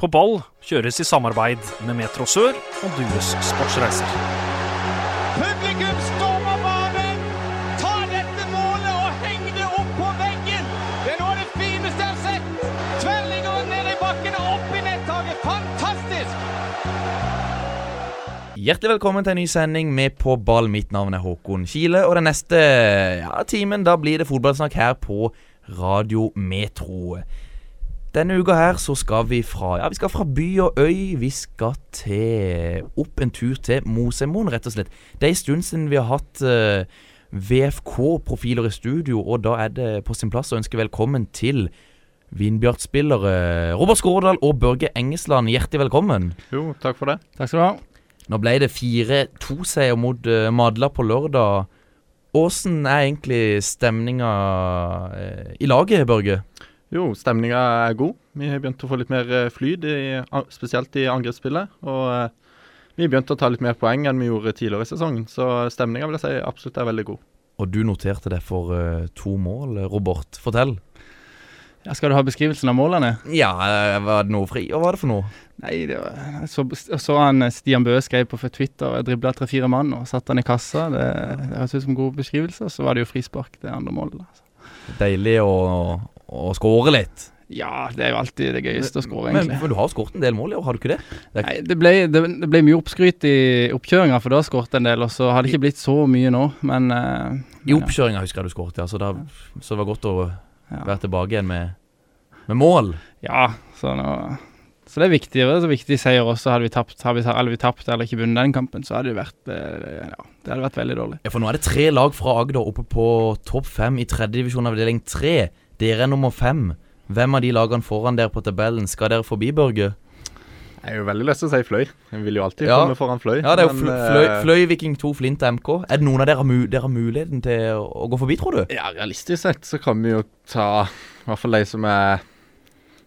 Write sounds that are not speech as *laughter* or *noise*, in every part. På ball kjøres i samarbeid med Metro Sør og Dues Sportsreiser. Publikum stormer banen! Ta dette målet og heng det opp på veggen! Det er noe av det fineste jeg har sett! Tverrliggeren ned i bakken og opp i nettaket! Fantastisk! Hjertelig velkommen til en ny sending med På ball. Mitt navn er Håkon Kile. Og den neste ja, timen da blir det fotballsnakk her på Radio Metro. Denne uka her så skal vi fra ja, vi skal fra by og øy. Vi skal til opp en tur til Mosemoen, rett og slett. Det er en stund siden vi har hatt eh, VFK-profiler i studio, og da er det på sin plass å ønske velkommen til Vindbjart-spillere Robert Skårdal og Børge Engesland. Hjertelig velkommen. Jo, takk for det. Takk skal du ha. Nå ble det 4-2-seier mot eh, Madla på lørdag. Åssen er egentlig stemninga eh, i laget, Børge? Jo, stemninga er god. Vi har begynt å få litt mer eh, flyt, i, a- spesielt i angrepsspillet. Og eh, vi begynte å ta litt mer poeng enn vi gjorde tidligere i sesongen, så stemninga vil jeg si absolutt er veldig god. Og du noterte deg for eh, to mål, eh, Robert. Fortell. Ja, skal du ha beskrivelsen av målene? Ja, eh, var det noe fri, og hva er det for noe? Nei, det var, jeg så, jeg så han eh, Stian Bøe skrev på Twitter Jeg dribla tre-fire mann og satte han i kassa. Det det høres ut som god beskrivelse. Og så var det jo frispark, det andre målet. da. Så, Deilig å, å skåre litt. Ja, det er jo alltid det gøyeste å skåre, Men, egentlig. men du har jo skåret en del mål i år, har du ikke det? Nei, det ble, det, det ble mye oppskryt i oppkjøringa, for da skåret en del. Og så har det ikke blitt så mye nå, men eh, I oppkjøringa husker jeg du skåret, ja. Så, da, så det var godt å ja. være tilbake igjen med, med mål. ja så, nå, så det er viktigere. Så viktig seier også. Hadde vi tapt, hadde vi, hadde vi tapt eller ikke vunnet den kampen, så hadde det vært, eh, ja, det hadde vært veldig dårlig. Ja, for nå er det tre lag fra Agder oppe på topp fem i tredje divisjon avdeling tre. Dere er nummer fem. Hvem av de lagene foran dere på tabellen skal dere forbi, Børge? Jeg er jo veldig lyst til å si Fløy. Jeg vil jo alltid Ja. komme foran Fløy. Ja, det er jo men, Fløy, eh, Fløy, Fløy Viking 2 Flint MK. Er det noen av dere, mu- dere har muligheten til å- å gå forbi, tror du? Ja, realistisk sett så kan vi jo ta i hvert fall de som er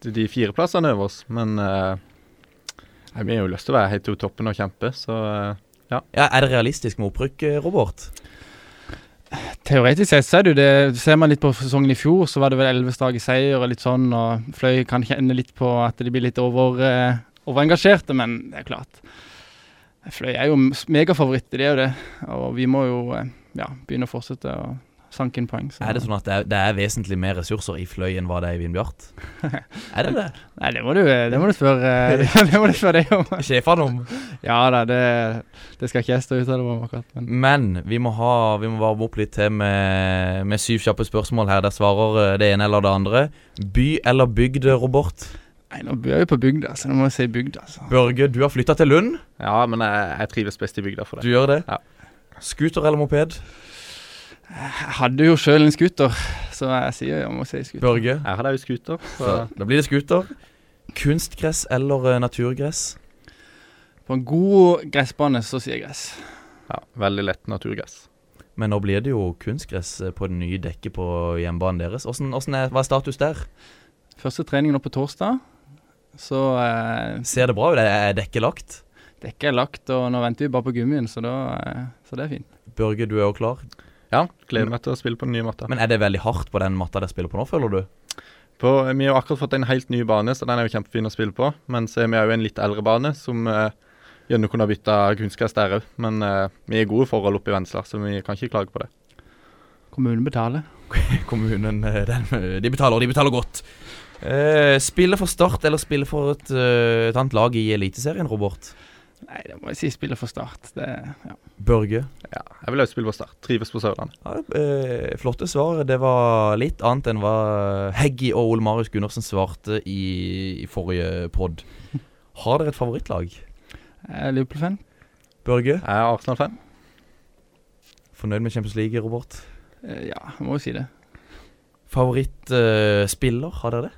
de- de fire plassene over oss, men eh, nei, vi har jo lyst til å være helt oppe i toppen og kjempe, så eh, Ja, Er det realistisk med opprykk, eh, Robert? Teoretisk sett så er det jo det. Ser man litt på sesongen i fjor, så var det vel Elvestad i seier og litt sånn, og Fløy kan kjenne litt på at de blir litt over, eh, overengasjerte, men det er klart. Fløy er jo megafavoritter, de er jo det, og vi må jo eh, ja, begynne å fortsette å sanke inn poeng. så- Er det sånn at det er, det er vesentlig mer ressurser i Fløy enn hva det er i *laughs* Vindbjart? Er det det? Nei, det må du, det må du spørre eh, *laughs* det må du spørre deg om. Sjefene om. Ja da, det, det skal ikke jeg stå uttale meg om akkurat, men Men vi må, ha, vi må varme opp litt til med, med syv kjappe spørsmål her. Der svarer eh, det ene eller det andre. By eller bygd, Robert? nei, nå bor jeg jo på bygda, så nå må jeg si bygda, altså. Børge, du har flytta til Lund. ja, men jeg, jeg trives best i bygda for Du det. gjør det. Ja. Scooter eller moped? Jeg hadde jo sjøl en scooter, så jeg sier jeg må si scooter. Børge. Her har de jo scooter, Så så da blir det scooter. Kunstgress eller eh, naturgress? På en god gressbane så sier jeg gress. ja, veldig lett naturgress. Men nå blir det jo kunstgress eh, på det nye dekket på hjemmebanen deres. Hvordan, hvordan er, hva er status der? Første trening nå på torsdag. Så eh, Ser det bra ut? Er dekket lagt? dekket er lagt, og nå venter vi bare på gummien, så, da, eh, så det er fint. Børge, du er jo klar. Ja, gleder meg til å spille på den nye matta. Men er det veldig hardt på den matta dere spiller på nå, føler du? På, vi har jo akkurat fått en helt ny bane, så den er jo kjempefin å spille på. Men så har vi òg en litt eldre bane, som eh, gjerne kunne ha bytta kunstgress der òg. Men eh, vi er i gode forhold oppe i Vennesla, så vi kan ikke klage på det. Kommunen betaler. *laughs* Kommunen eh, den, De betaler, og de betaler godt. Eh, spille for Start eller spille for et, eh, et annet lag i Eliteserien, Robert? Nei, det må jeg si spiller for Start. Det, ja. Børge? Ja, jeg vil òg spille på Start. Trives på Sørlandet. Ja, eh, flotte svar. Det var litt annet enn hva Heggy og Ole Marius Gundersen svarte i, i forrige pod. Har dere et favorittlag? Jeg er Liverpool-fan. Børge? Jeg er Arsenal-fan. Fornøyd med Champions League, Robert? Eh, ja, jeg må jo si det. Favorittspiller, har dere det?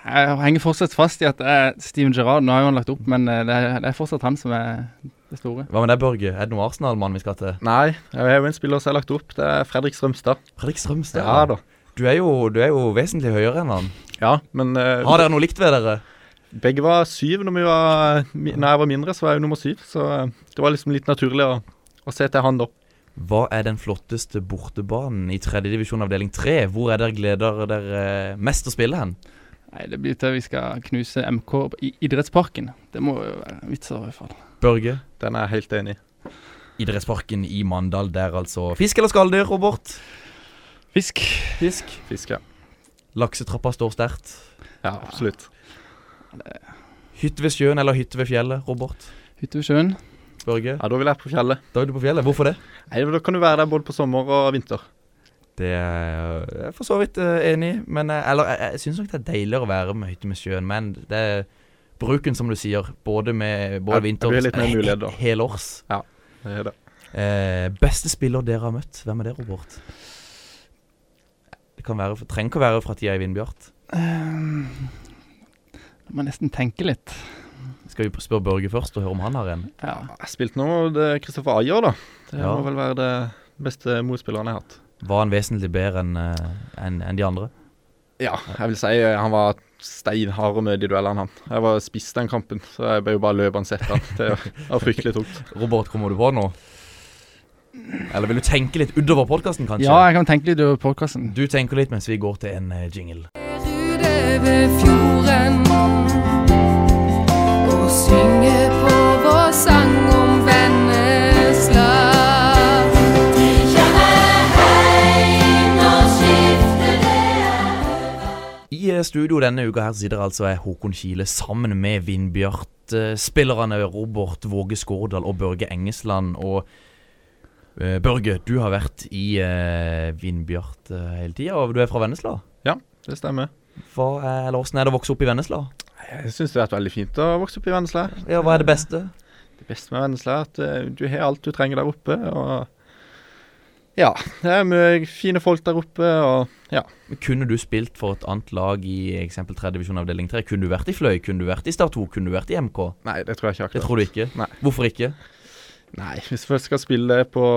Jeg henger fortsatt fast i at eh, Steven Gerrard Nå har jo han lagt opp, men eh, det, er, det er fortsatt han som er det store. Hva med deg, Børge? Er det noen Arsenal-mann vi skal til? Nei, jeg har jo en spiller som er lagt opp. Det er Fredrik Strømstad. Fredrik Strømstad. Ja da. Du, er jo, du er jo vesentlig høyere enn han. Ja, men eh, Har dere noe likt ved dere? begge var syv når, vi var, mi- når jeg var mindre, så var jeg jo nummer syv. Så eh, det var liksom litt naturlig å, å se til han da. Hva er den flotteste bortebanen i tredje divisjon avdeling tre? Hvor er dere gleder dere mest eh, å spille hen? Nei, det blir til vi skal knuse MK i idrettsparken. Det må jo være vitser i hvert fall. Børge, Den er jeg helt enig i. idrettsparken i Mandal der, altså. Fisk eller skalldyr, Robert? Fisk. Fisk. Fiske. Laksetrappa står sterkt. Ja, absolutt. Hytte ved sjøen eller hytte ved fjellet, Robert? Hytte ved sjøen. Børge? Ja, Da vil jeg på fjellet. Da er du på fjellet. Hvorfor det? Nei, Da kan du være der både på sommer og vinter. Det er jeg for så vidt eh, enig i. Men eh, Eller jeg, jeg syns nok det er deiligere å være med hytte med sjøen, men det er bruken, som du sier, både med Ja, både det vinter blir litt mer mulighet da. *laughs* Helårs. Det er det. Eh, beste spiller dere har møtt, hvem er det, Robert? Det kan være, det trenger ikke å være fra tida i Vindbjart. Um, må nesten tenke litt. Skal vi spørre Børge først og høre om han har en? Ja. Jeg spilte nå det Kristoffer Ayer, da. Det Ja. må vel være det beste motspilleren jeg har hatt. Var han vesentlig bedre enn eh, enn- enn de andre? Ja, jeg vil si eh, han var steinhard å møte i duellene, han. Jeg var spiss den kampen, så jeg ble jo bare løpende sett han. Det *laughs* var fryktelig tungt. Robert, kommer du på noe? Eller vil du tenke litt utover podkasten, kanskje? ja, jeg kan tenke litt over podkasten. Du tenker litt mens vi går til en eh, jingle. Rude ved fjorden og synge på vår sang om Vennesla. De kjenner heim, nå skifter I eh, studio denne uka her sitter altså jeg, Håkon Kile sammen med Vindbjart-spillerne Robert Våge Skårdal og Børge Engesland. Og eh, Børge, du har vært i eh, Vindbjart eh, hele tida, og du er fra Vennesla. Det stemmer. Hva er, eller Hvordan er det å vokse opp i Vennesla? Jeg syns det har vært veldig fint å vokse opp i Vennesla. Ja, Hva er det beste? Det beste med Vennesla er at eh, du har alt du trenger der oppe, og ja. Det er mye fine folk der oppe, og Kunne du spilt for et annet lag i eksempel 3. divisjon avdeling 3? Kunne du vært i Fløy? Kunne du vært i Start 2? Kunne du vært i MK? Nei, det tror jeg ikke akkurat. Det tror du ikke? Nei. Hvorfor ikke? Nei, hvis jeg først skal spille på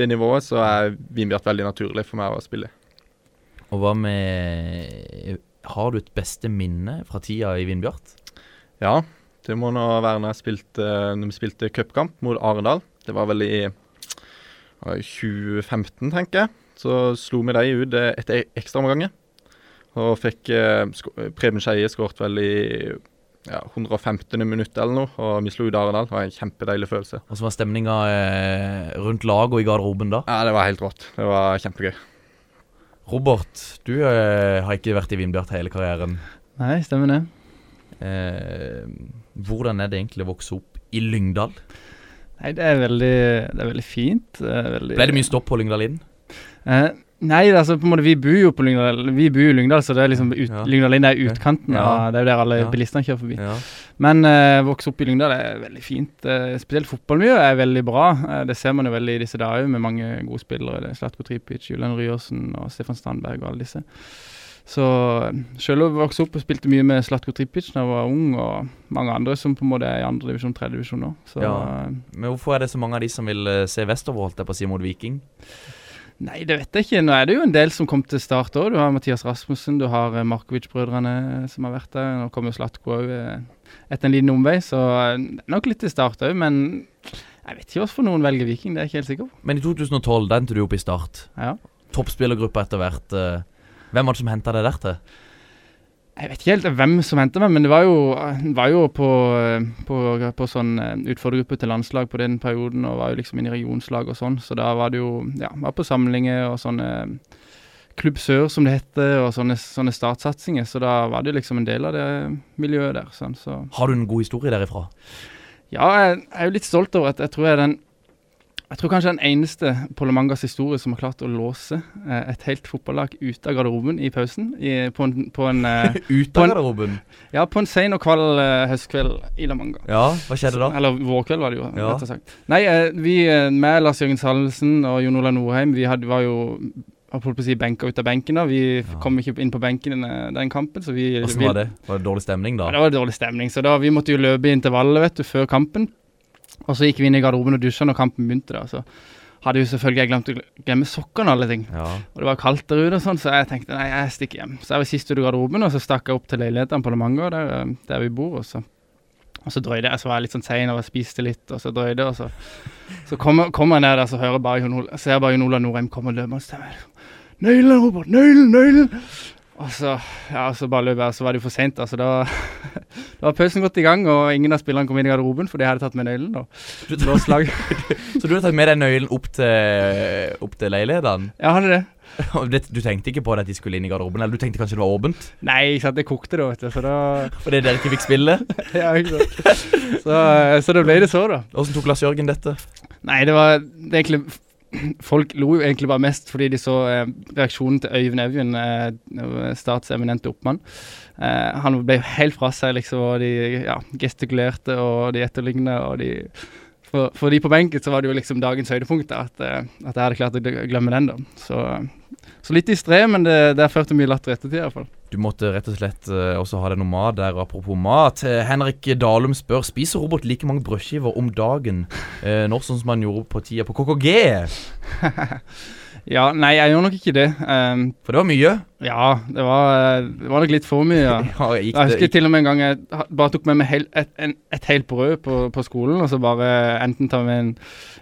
det nivået, så er Vindbjart veldig naturlig for meg å spille. Og hva med Har du et beste minne fra tida i Vindbjart? Ja, det må nå være når, jeg spilte, når vi spilte cupkamp mot Arendal. Det var vel i det var i 2015, tenker jeg. Så slo vi dem ut eh, etter ekstraomganger. Og fikk eh, sko- Preben Skeie skåret vel i ja, 115. minutt eller noe, og vi slo ut Arendal. Det var en kjempedeilig følelse. Hvordan var stemninga eh, rundt laget og i garderoben da? Ja, det var helt rått. Det var kjempegøy. Robert, du eh, har ikke vært i Vindbjart hele karrieren. Nei, stemmer det. Eh, hvordan er det egentlig å vokse opp i Lyngdal? Nei, det er veldig, det er veldig fint. Det er veldig, Ble det mye stopp på Lyngdal inn? Eh, nei, altså på en måte, vi bor jo på Lyngdal, vi bor jo i Lyngdal, så det er liksom ut, Ja. Lyngdal inn er utkanten. Ja. av- det er jo der alle Ja. bilistene kjører forbi. Ja. Men eh, vokse opp i Lyngdal er veldig fint. Eh, spesielt fotballmiljøet er veldig bra. Eh, det ser man jo veldig i disse dager med mange gode spillere. Det er Slatko Tripic, Julian Ryåsen og Stefan Strandberg og alle disse. Så eh, selv om jeg vokste opp og spilte mye med Slatko Tripic da jeg var ung, og mange andre som på en måte er i andre divisjon, tredje divisjon nå. Så Ja. eh, Men hvorfor er det så mange av de som vil eh, se vestover, holdt jeg på å si, mot Viking? Nei, det vet jeg ikke. Nå er det jo en del som kom til start òg. Du har Mathias Rasmussen, du har eh, Markovic-brødrene eh, som har vært der. Nå kommer jo Slatko òg etter en liten omvei, så eh, det er nok litt til start òg. Men jeg vet ikke hvorfor noen velger Viking, det er jeg ikke helt sikker på. Men i 2012 da endte du opp i Start. Ja. Toppspillergruppa etter hvert. eh, Hvem var det som henta deg der til? Jeg vet ikke helt hvem som henta meg, men det var jo, han var jo på, eh, på, på sånn eh, utfordrergruppe til landslag på den perioden, og var jo liksom inne i regionslag og sånn, så da var det jo Ja, var på samlinger og sånne eh, Klubb Sør, som det heter, og sånne, sånne startsatsinger, så da var det jo liksom en del av det miljøet der. Sånn, så Har du en god historie derifra? Ja, jeg jeg er jo litt stolt over at jeg tror jeg er den jeg tror kanskje den eneste Polomangas historie som har klart å låse eh, et helt fotballag ute av garderoben i pausen. I, på en, *laughs* på en eh, Ut På av en- garderoben? Ja, på en sein og kvald eh, høstkveld i La Manga. Ja, hva skjedde da? Eller vårkveld var det jo, Ja. rett og slett. Nei, eh, vi eh, med Lars Jørgen Salvesen og Jon Ola Norheim, vi hadde, var jo jeg holdt på å si benka ut av benken da. Vi Ja. kom ikke inn på benken den, eh, den kampen, så vi Åssen var det? Var det dårlig stemning da? ja, det var dårlig stemning, så da, vi måtte jo løpe i intervallet vet du, før kampen. Og så gikk vi inn i garderoben og dusja når kampen begynte. da, Så hadde jo selvfølgelig jeg glemt å gle- glemme sokkene og alle ting. Ja. Og det var kaldt der ute, og sånn, så jeg tenkte nei, jeg stikker hjem. Så jeg var sist ute i garderoben, og så stakk jeg opp til leilighetene på Lemango, der, eh, der vi bor. Og så, og så drøyde jeg, så var jeg litt sånn sein og jeg spiste litt, og så drøyde jeg, og så Så kommer kommer jeg ned der, så hører jeg bare Jon Ola, ser jeg bare Jon Ola Norheim komme løpende og stemmer. Nøkkelen, Robert! Nøkkelen! Nøkkelen! Og så, ja, og så bare løp jeg, og så var det jo for seint. Altså, da, *laughs* da var pausen godt i gang, og ingen av spillerne kom inn i garderoben, for de hadde tatt med nøkkelen. og låst laget. *laughs* Så du har tatt med deg nøkkelen opp til, opp til leilighetene? Ja, hadde det. Og det- Du tenkte ikke på det at de skulle inn i garderoben? Eller du tenkte kanskje det var åpent? Nei, ikke sant, det kokte da, vet du. Så da Fordi dere ikke fikk spille? *laughs* ja, ikke sant. Så, eh, så da ble det så, da. Åssen tok Lars Jørgen dette? Nei, det var det er egentlig *clears throat* Folk lo jo egentlig bare mest fordi de så eh, reaksjonen til Øyvind Evjen, eh, Starts eminente oppmann. Eh, han ble jo helt fra seg, liksom, og de ja, gestikulerte og de etterlignet. Og de, for, for de på benken så var det jo liksom dagens høydepunkt, da, at, eh, at jeg hadde klart å gl- glemme den. da. Så, så litt distré, men det, det har ført til mye latter i ettertid, iallfall. Du måtte rett og slett eh, også ha deg noe mat der. og Apropos mat. eh, Henrik Dalum spør spiser Robert like mange brødskiver om dagen eh, nå sånn som han gjorde på tida på KKG. Ja, nei, jeg gjorde nok ikke det. Ehm, For det var mye. ja, det var, eh, det var nok litt for mye. ja. Ja, gikk Jeg det, husker gikk, til og med en gang jeg ha- bare tok med meg hel, et, en, et helt brød på, på skolen, og så bare enten ta med en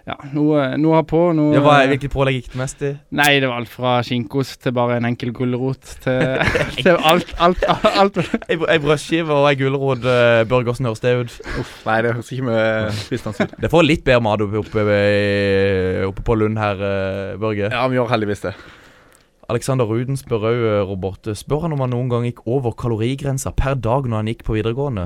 Ja, noe, noe å ha på, noe ja, hva, hvilket pålegg gikk det mest i? Nei, det var alt fra skinkost til bare en enkel gulrot *laughs* til, *laughs* til alt, alt, alt, Ei, br- ei brødskive og ei gulrot. eh, Børge, hvordan høres det ut? Nei, det høres ikke med spistende ut. Det får litt bedre mat oppe, oppe, oppe på Lund her, eh, Børge. *laughs* Ja, vi gjør heldigvis det. Alexander Ruden spør òg, Robert, spør han om han noen gang gikk over kalorigrensa per dag når han gikk på videregående?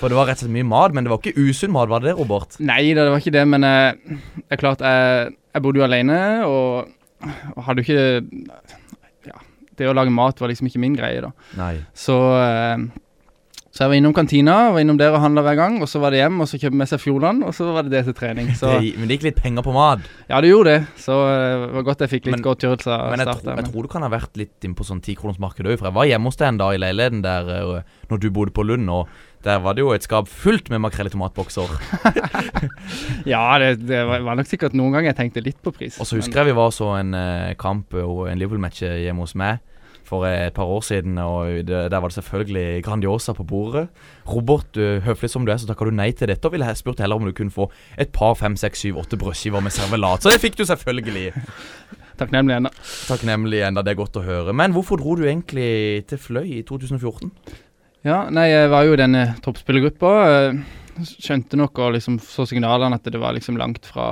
For det var rett og slett mye mat, men det var ikke usunn mat, var det det, Robert? Nei da, det var ikke det, men eh, det er klart jeg, jeg bodde jo alene, og, og hadde jo ikke Ja, det å lage mat var liksom ikke min greie, da. Nei. Så, eh, så jeg var innom kantina, var innom der og handla hver gang. Og så var det hjem, og så kjøpte med seg Fjordland, og så var det det til trening. Så Det, men det gikk litt penger på mat. ja, det gjorde det. Så eh, det var godt jeg fikk Men- litt godtgjørelse av Men jeg, start tro, der. jeg men- tror du kan ha vært litt inn på sånn tikronersmarkedet òg, for jeg var hjemme hos deg en dag i leiligheten der eh, når du bodde på Lund, og der var det jo et skap fullt med makrell i tomatbokser. Ja, det, det var var nok sikkert noen ganger jeg tenkte litt på pris. Og så husker jeg vi var og så en eh, kamp og en Liverpool-match eh, hjemme hos meg for eh, et par år siden, og det, der var det selvfølgelig Grandiosa på bordet. Robert, du, høflig som du er, så takka du nei til dette, og ville he- spurt heller om du kunne få et par fem, seks, syv, åtte brødskiver med servelat. Så det fikk du selvfølgelig. Men, takknemlig ennå. Takknemlig enda, det er godt å høre. Men hvorfor dro du egentlig til Fløy i 2014? Ja, nei, jeg var jo i denne toppspillergruppa. eh, Skjønte nok og liksom så signalene at det var liksom langt fra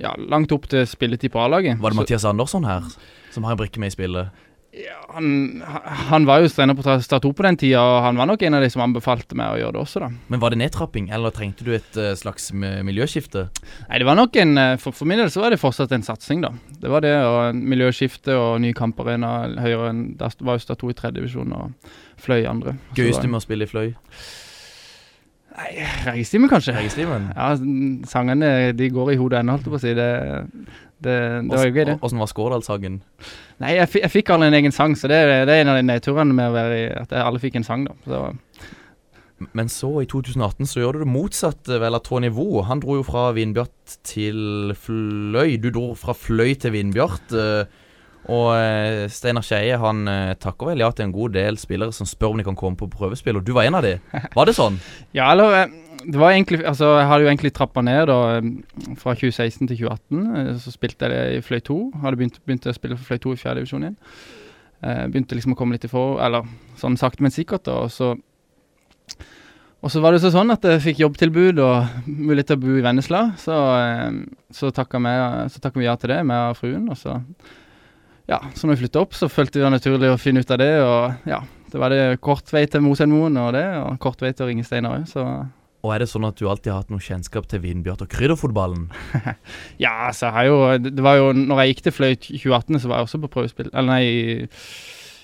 Ja, langt opp til spilletid på A-laget. Var det Så- Mathias Andersson her som har en brikke med i spillet? Ja, han, han var jo trener på Start 2 på den tida, og han var nok en av de som anbefalte meg å gjøre det også, da. Men var det nedtrapping, eller trengte du et eh, slags eh, miljøskifte? Nei, det var nok en, eh, for, for min del så var det fortsatt en satsing, da. Det var det, og en miljøskifte og ny kamparena høyere enn Da var jo Start 2 i tredje divisjon og fløy i andre. Så Gøyeste det med å spille i Fløy? var- Reisestime, kanskje. Regestimen? Ja, n- sangene de går i hodet ennå, holdt jeg på å si. Det, det, det var jo gøy, det. Åssen var Skårdalshagen? Nei, jeg, fi- jeg fikk alle en egen sang, så det, det er en av de nedturene med å være i At jeg- alle fikk en sang, da. Så, Men så, i 2018, så gjør du det motsatte vel av Tony Vo. Han dro jo fra Vinbjart til Fløy. Du dro fra Fløy til Vinbjart. eh, Og eh, Steinar Skeie han eh, takker vel ja til en god del spillere som spør om de kan komme på prøvespill, og du var en av de. Var det sånn? Ja, eller eh, Det var egentlig Altså, jeg hadde jo egentlig trappa ned da eh, fra 2016 til 2018. eh, Så spilte jeg det i Fløy 2. Hadde begynt, begynt å spille for Fløy 2 i fjerde divisjon igjen. Eh, begynte liksom å komme litt i for, eller sånn sakte, men sikkert, da. Og så og så var det jo så sånn at jeg fikk jobbtilbud og mulighet til å bo i Vennesla. Så, eh, så takka vi- så takka vi ja til det, meg og fruen. Og så Ja, så når vi flytta opp, så følte vi det var naturlig å finne ut av det. Og ja, det var det kort vei til Mosheimoen og det, og kort vei til å ringe Steinar òg, så Og er det sånn at du alltid har hatt noe kjennskap til Vinbjart og krydderfotballen? Ja, så jeg har jo Det det var jo Når jeg gikk til Fløy i 2018, så var jeg også på prøvespill Eller nei, i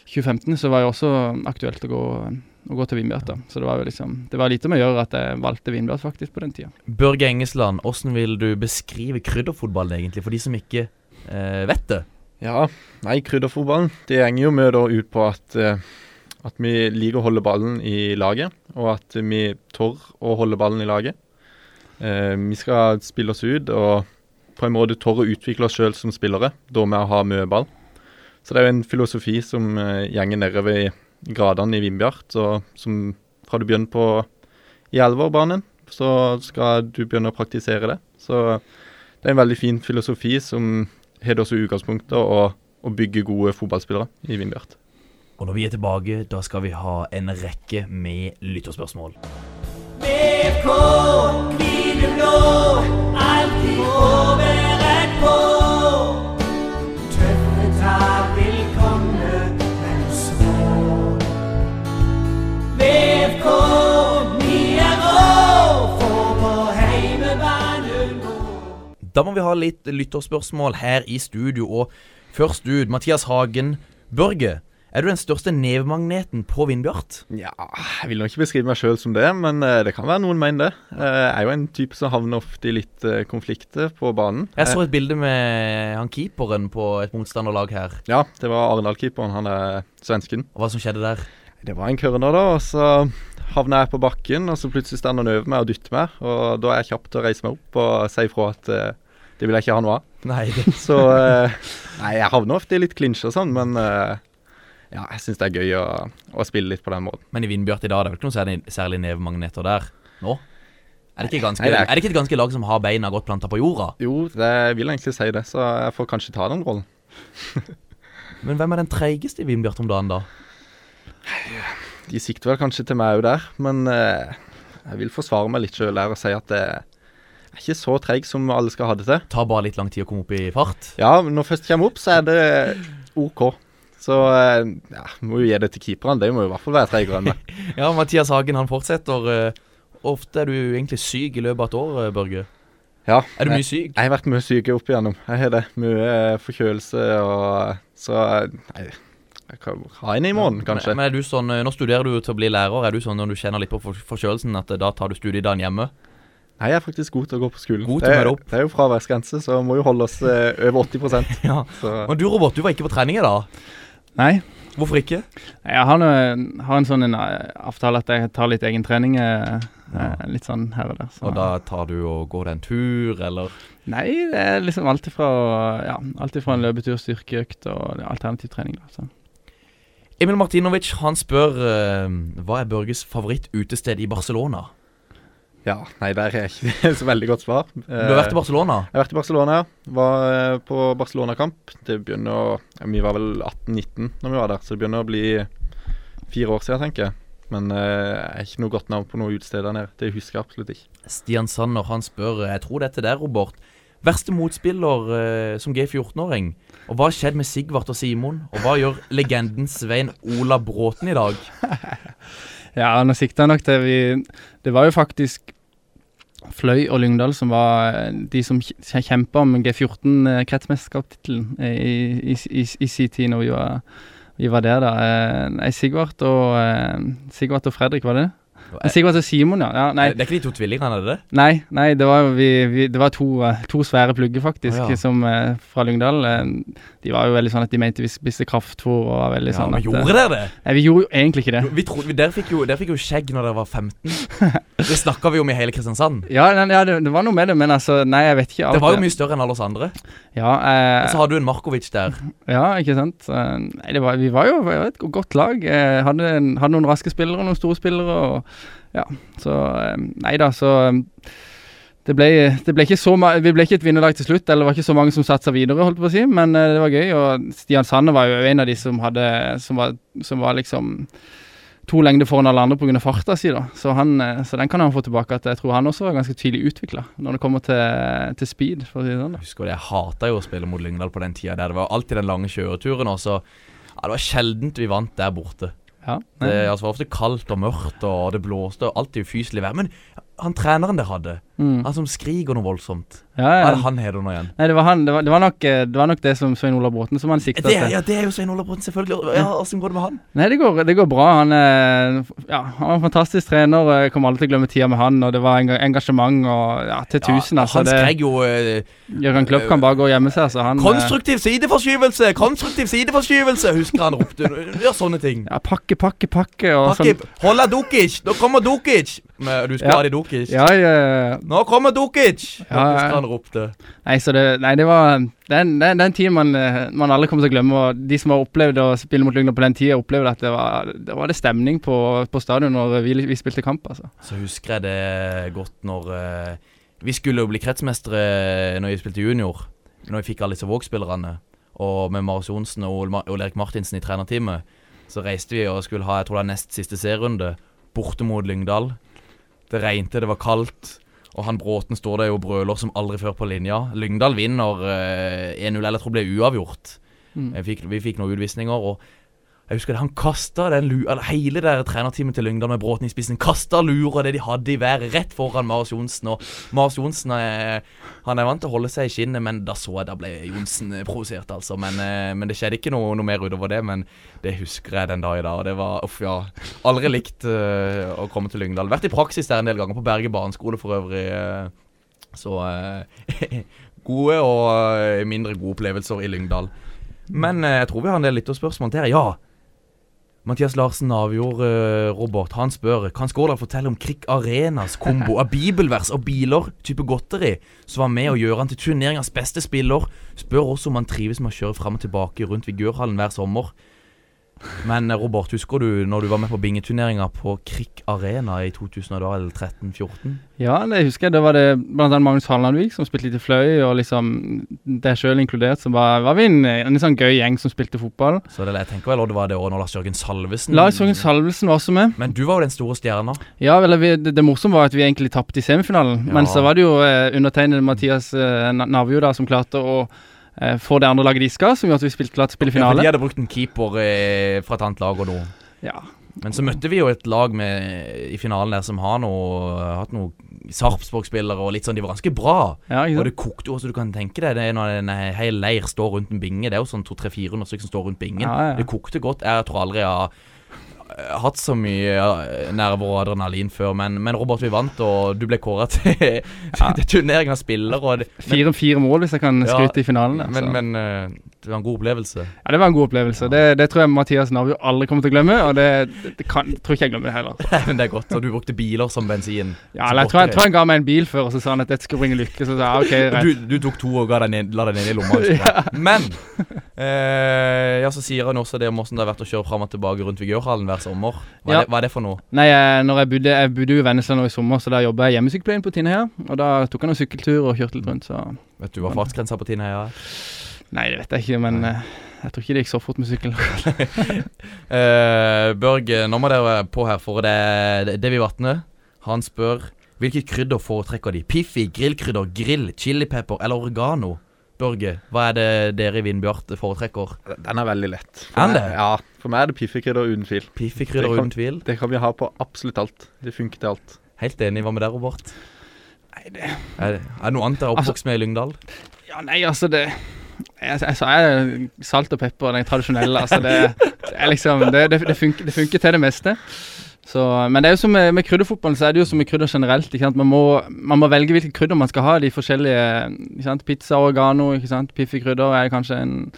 2015 så var jeg også aktuelt å gå, å gå til Vinbjart, da. Så det var jo liksom Det var lite med å gjøre at jeg valgte Vinbjart faktisk på den tida. Børge Engesland, åssen vil du beskrive krydderfotballen egentlig, for de som ikke eh, vet det? Ja, nei, krydderfotballen Det henger jo med da ut på at, eh, at vi liker å holde ballen i laget, og at vi tør å holde ballen i laget. Eh, vi skal spille oss ut og på en måte tør å utvikle oss sjøl som spillere, da med å ha mye ball. Så det er jo en filosofi som eh, gjenger nedover i gradene i Vindbjart, og som fra du begynner på i Elverbanen, så skal du begynne å praktisere det. Så det er en veldig fin filosofi som har det også i utgangspunktet å, å bygge gode fotballspillere i Vindbjart. Og når vi er tilbake, da skal vi ha en rekke med lytterspørsmål. Da må vi ha litt lytterspørsmål her i studio, og først ut, Mathias Hagen. Børge, er du den største nevemagneten på Vindbjart? Ja, jeg vil nå ikke beskrive meg sjøl som det, men eh, det kan være noen mener det. Eh, Jeg er jo en type som havner ofte i litt eh, konflikter på banen. Jeg så et bilde med han keeperen på et motstanderlag her. Ja, det var Arendal-keeperen, han er svensken. Og hva som skjedde der? Det var en kørner, da, og så havna jeg på bakken, og så plutselig står han og nøver meg og dytter meg, og da er jeg kjapp til å reise meg opp og si ifra at eh, det vil jeg ikke ha noe av. Nei, det Så *laughs* eh, Nei, jeg havner ofte i litt klinsj og sånn, men eh, ja, jeg syns det er gøy å, å spille litt på den måten. *laughs* Men i Vindbjart i dag, det er vel ikke noen særlig, særlig nevemagneter der? Nå? Er det, ikke ganske, Nei, det er er, ikke- det ikke et ganske lag som har beina godt planta på jorda? Jo, det jeg vil egentlig si det, så jeg får kanskje ta den rollen. Men hvem er den treigeste i Vindbjart om dagen, da? De sikter vel kanskje til meg òg der, men eh, jeg vil forsvare meg litt sjøl der og si at det er ikke så treig som alle skal ha det til. Tar bare litt lang tid å komme opp i fart? Ja, men når først kommer opp, så er det OK. Så eh, ja, må jo gi det til keeperne. De må jo i hvert fall være treigere *laughs* enn meg. Ja, Mathias Hagen han fortsetter. eh, Ofte er du egentlig syk i løpet av et år, eh, Børge. Ja, Er du jeg- mye syk? Jeg har vært mye syk opp igjennom. Jeg har det. Mye eh, forkjølelse og Så eh, nei, jeg kan ha en i morgen, kanskje. Men er du sånn, eh, Nå studerer du til å bli lærer. Er du sånn når du kjenner litt på for- forkjølelsen at eh, da tar du studiedagen hjemme? Nei, jeg er faktisk god til å gå på skolen. God til å Det er- møte opp. Det er jo fraværsgrense, så må jo holde oss eh, over 80 *laughs* Ja. Så Men du Robert, du var ikke på trening i dag. Nei, Hvorfor ikke? jeg har, nå- har en sånn en, eh, avtale at jeg tar litt egen trening. eh, eh, Litt sånn her og der. Så. Og da tar du og går deg en tur, eller Nei, det er liksom alt ifra, ja, alt ifra en løpetur, styrkeøkt og alternativ trening. Da, så. Emil Martinovic han spør eh, hva er Børges favorittutested i Barcelona. ja, nei, der er ikke *laughs* det så veldig godt svar. Eh, Du har vært i Barcelona. Jeg har vært i Barcelona, ja. Var eh, på Barcelona-kamp. Det begynner å ja, Vi var vel 18-19 når vi var der, så det begynner å bli fire år siden, tenker jeg. Men eh, jeg har ikke noe godt navn på noe utested der nede. Det husker jeg absolutt ikke. Eh, Stian Sanner han spør eh, jeg tror det er til deg, Robert. Verste motspiller eh, som G14-åring. Og hva har skjedd med Sigvart og Simon? Og hva gjør legenden Svein Ola Bråten i dag? Ja, nå sikta jeg nok til vi Det var jo faktisk Fløy og Lyngdal som var eh, de som kjempa om G14-kretsmesterskapstittelen eh, i, i, i, i sin tid når vi var, vi var der, da. Eh, Nei, Sigvart og, eh, Sigvart og Fredrik, var det? Nei, Sigvart og Simon, ja. ja nei, Eh, Det er ikke de to tvillingene, er det det? nei, nei, det var, jo vi, vi, det var to, eh, to svære plugger, faktisk, Å, ja. som, eh, fra Lyngdal. Eh, De var jo veldig sånn at de mente vi spiste kraftfôr og var veldig Ja, sånn men at eh, gjorde dere det? Nei, vi gjorde jo egentlig ikke det. Vi trodde, dere, fikk jo, dere fikk jo skjegg når dere var *laughs* 15. Det snakka vi om i hele Kristiansand. Ja, nei, ja det, det var noe med det, men altså Nei, jeg vet ikke. alt Det var jo mye større enn alle oss andre. Ja, Og så eh, har du en Markovic der. ja ikke sant. Eh, Nei, det var, vi var jo vi var et go- godt lag. Eh, hadde, en- hadde noen raske spillere og noen store spillere. Og, ja, så eh, Nei da, så eh, det ble, det ble ikke så ma Vi ble ikke et vinnerlag til slutt, eller det var ikke så mange som satsa videre, holdt jeg på å si, men eh, det var gøy. Og Stian Sanne var jo en av de som hadde Som var, som var liksom to lengder foran alle andre pga. farta si, da. Så, han, eh, så den kan han få tilbake. At jeg tror han også var ganske tidlig utvikla når det kommer til, til speed, for å si det sånn. da. Jeg husker det, jeg hata jo å spille mot Lyngdal på den tida der. Det var alltid den lange kjøreturen, og så ja, Det var sjeldent vi vant der borte. Ja, Det nei. altså, var ofte kaldt og mørkt, og det blåste, og alltid ufyselig vær. Men han treneren dere hadde, Mm. han som skriker noe voldsomt, Ja, hva ja. er det han heter nå igjen? Nei, det var, han, det, var, det, var nok, eh, det var nok det som Svein Olav Bråten som han sikta Det, er- til. ja, det er jo Svein Olav Bråten, selvfølgelig. Ja, Åssen går det med han? Nei, det går, det går bra. Han er, ja, han var en fantastisk trener. og Jeg kommer aldri til å glemme tida med han, og det var enga- engasjement og ja, til tusen. Ja, altså, han det, skrek jo eh, Jørgen Klopp kan bare gå og gjemme seg. Altså, han, eh, 'Konstruktiv sideforskyvelse! Konstruktiv sideforskyvelse!' Husker han ropte. Ja, sånne ting. ja, pakke, pakke, pakke. Og Pakke, sånn. Holla Dukic! Nå kommer Dukic! Men Du husker Ja. Adi Dukic? Ja, ja, ja. Nå kommer Dukic! Ja, ja. Husker han ropte. Nei, så det, nei, det var den, den, den tiden man, eh, man aldri kommer til å glemme. Og de som har opplevd å spille mot Lyngdal på den tida, opplevde at det var det, var det stemning på, på stadion når vi, vi spilte kamp. altså. Så husker jeg det godt når eh, Vi skulle jo bli kretsmestere når vi spilte junior. Når vi fikk alle disse Våg-spillerne. Og med Marius Johnsen og Ole Ma- Ole Erik Martinsen i trenerteamet. Så reiste vi og skulle ha jeg tror det var nest siste serierunde borte mot Lyngdal. Det regnte, det var kaldt. Og han Bråten står der jo og brøler som aldri før på linja. Lyngdal vinner eh, 1-0, eller jeg tror det ble uavgjort. Mm. Jeg fikk, vi fikk noen utvisninger, og jeg husker det, han kasta den lua eller Hele det der trenerteamet til Lyngdal med Bråten i spissen kasta lura det de hadde i været, rett foran Marius Johnsen. Og Marius Johnsen er, han er vant til å holde seg i skinnet, men da så jeg da ble Johnsen eh, provosert, altså. Men, eh, men det skjedde ikke noe, noe mer utover det. Men det husker jeg den dag i dag. Og det var uff, ja. Aldri likt eh, å komme til Lyngdal. Vært i praksis der en del ganger, på Berge barneskole for øvrig. eh, så eh, *laughs* gode og eh, mindre gode opplevelser i Lyngdal. Men eh, jeg tror vi har en del lytterspørsmål til her. Ja! Mathias Larsen avgjorde eh, Robert. Han spør Kan Skåla fortelle om Krik Arenas kombo av bibelvers og biler, type godteri, som var med å gjøre han til turneringens beste spiller? Spør også om han trives med å kjøre fram og tilbake rundt Vigørhallen hver sommer. Men eh, Robert, husker du når du var med på bingeturneringa på Krik Arena i 2013-14? Ja, det husker jeg. Da var det blant annet Magnus Hallandvik som spilte litt i fløy, og liksom deg sjøl inkludert, så var, var vi en, en litt sånn gøy gjeng som spilte fotball. Så det, jeg tenker vel også det var det året når Lars Jørgen Salvesen Lars Jørgen Salvesen var også med. Men du var jo den store stjerna. Ja, vel, vi, det, det morsomme var at vi egentlig tapte i semifinalen, Ja. men så var det jo eh, undertegnede Mathias eh, Na- Navio da, som klarte å eh, få det andre laget de skal, som gjorde at vi spilte klart til å spille Ja, for de finale. hadde brukt en keeper eh, fra et annet lag og noe. Ja, Men så møtte vi jo et lag med, i finalen der som har noe, hatt noe Sarpsborg-spillere og litt sånn. De var ganske bra. ja ikke Og sant? det kokte jo, så du kan tenke deg. Det er når en hel leir står rundt en binge. Det er jo sånn 200-400 stykker som står rundt bingen. Ja, ja. Det kokte godt. Jeg tror aldri jeg har eh, hatt så mye eh, nerver og adrenalin før, men, men Robert, vi vant, og du ble kåra til, *laughs* til turneringen av spiller. Og det, men, Fire, fire mål, hvis jeg kan Ja, skryte i finalen. der, så. men, men eh, det var en god opplevelse. *laughs* Ja, Det var en god opplevelse. Det, det tror jeg Mathias Navio aldri kommer til å glemme. Og det, det, det kan, tror ikke jeg glemmer det heller. men det er godt. Og du brukte biler som bensin. Ja, eller jeg tror, jeg tror han ga meg en bil før, og så sa han at dette skulle bringe lykke. Så sa jeg, ok, Og rett. Du, du tok to og ga deg ned, la deg ned i lomma. ja. Men eh, Ja, så sier han også det om åssen det har vært å kjøre fram og tilbake rundt Vigørhallen hver sommer. Hva, Ja. er det, hva er det for noe? Nei, jeg, når jeg bodde, jeg bodde jo i Vennesla nå i sommer, så da jobba jeg i hjemmesykepleien på Tinne her. Og da tok han en sykkeltur og kjørte litt rundt, så Vet du hva fartsgrensa på Tinheia er? Nei, det vet jeg ikke, men eh, jeg tror ikke det gikk så fort med sykkel. Eh, Børge, nå må dere på her, for det det vi vatner. Han spør hvilket krydder foretrekker de? Piffi, grillkrydder, grill, chilipepper eller oregano? Børge, hva er det dere i Vindbjart foretrekker? Den er veldig lett. For Er meg- det? Ja, for meg er det piffikrydder uten tvil. Piffi-krydder Det kan- uten tvil. Det kan vi ha på absolutt alt. Det funker til alt. Helt enig. Hva med deg, Robert? Er det, Altså- er det noe annet dere er oppvokst med i Lyngdal? Ja, nei, altså, det jeg, jeg sa jeg, salt og pepper, den tradisjonelle. Altså, det, det er liksom det, det, det, funker, det funker til det meste. Så, men det er jo som med, med krydderfotballen, så er det jo som med krydder generelt. Ikke sant? Man, må, man må velge hvilke krydder man skal ha. De forskjellige ikke sant? Pizza, oregano, ikke sant? piffikrydder er kanskje en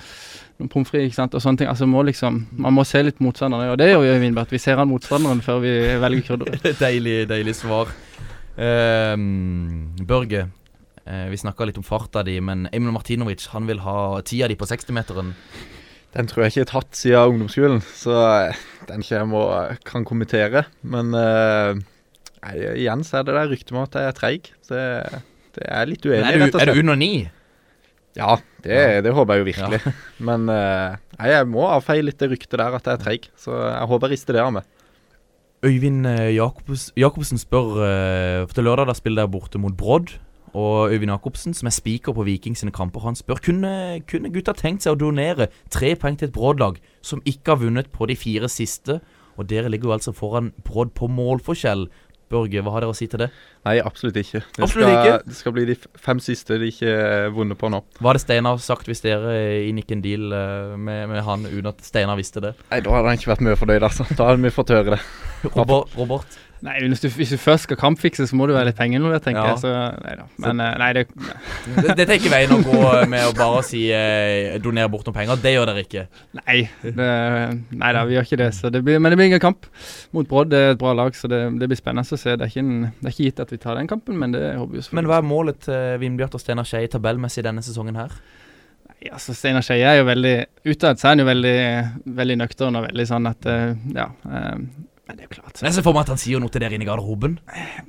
noen pommes frites ikke sant? og sånne ting. Altså, må liksom, man må se litt motstanderne, og det gjør vi, Vinbert. Vi ser an motstanderen før vi velger *laughs* krydderet. Deilig, deilig svar. Ehm, Børge, eh, vi snakka litt om farta di, men Emil Martinovic han vil ha tida di på 60-meteren. Den tror jeg ikke jeg har tatt siden ungdomsskolen, så eh, den ikke jeg må, kan kommentere. Men eh, nei, igjen så er det der ryktet om at jeg er treig. Det, det er jeg litt Men uenig, i, Er rett du, og er du slett. under ni? Ja, det, det håper jeg jo virkelig. *laughs* Men eh, nei, jeg må avfeie litt det ryktet der at jeg er treig, så jeg håper jeg rister det av meg. Øyvind eh, Jakobs, Jakobsen spør eh, For til lørdag da spiller dere borte mot Brodd. Og Øyvind Jacobsen, som er spiker på Viking sine kamper, han spør kunne, kunne gutta tenkt seg å donere tre poeng til et Brodd-lag som ikke har vunnet på de fire siste. Og dere ligger jo altså foran Brodd på målforskjell. Børge, hva har dere å si til det? Nei, absolutt ikke. Det Absolutt skal, ikke? Det skal bli de f- fem siste de ikke eh, vunnet på nå. Hva hadde Steinar sagt hvis dere inngikk en deal eh, med, med han uten at Steinar visste det? Nei, Da hadde han ikke vært mye fornøyd, altså. Da hadde vi fått høre det. Robert, Robert Nei, hvis du, hvis du først skal kampfikse, så må du ha litt penger nå, tenker Ja. jeg. Så, nei da. Men eh, nei, det, det- dette er ikke veien å gå med å bare si eh, donere bort noen penger. Det gjør dere ikke. Nei, det, nei da, vi gjør ikke det. Så det blir, men det blir ingen kamp mot Brodd. Det er et bra lag, så det, det blir spennende å se. Det er, ikke en, det er ikke gitt at vi tar den kampen, men det håper vi jo selvfølgelig. Men hva er målet til Vindbjart og Steinar Skei tabellmessig denne sesongen her? Nei, altså, Steinar Skeie er jo veldig Utad så er han jo veldig, veldig nøktern og veldig sånn at eh, ja. eh, Men det er jo klart. Men jeg ser for meg at han sier noe til dere inne i garderoben.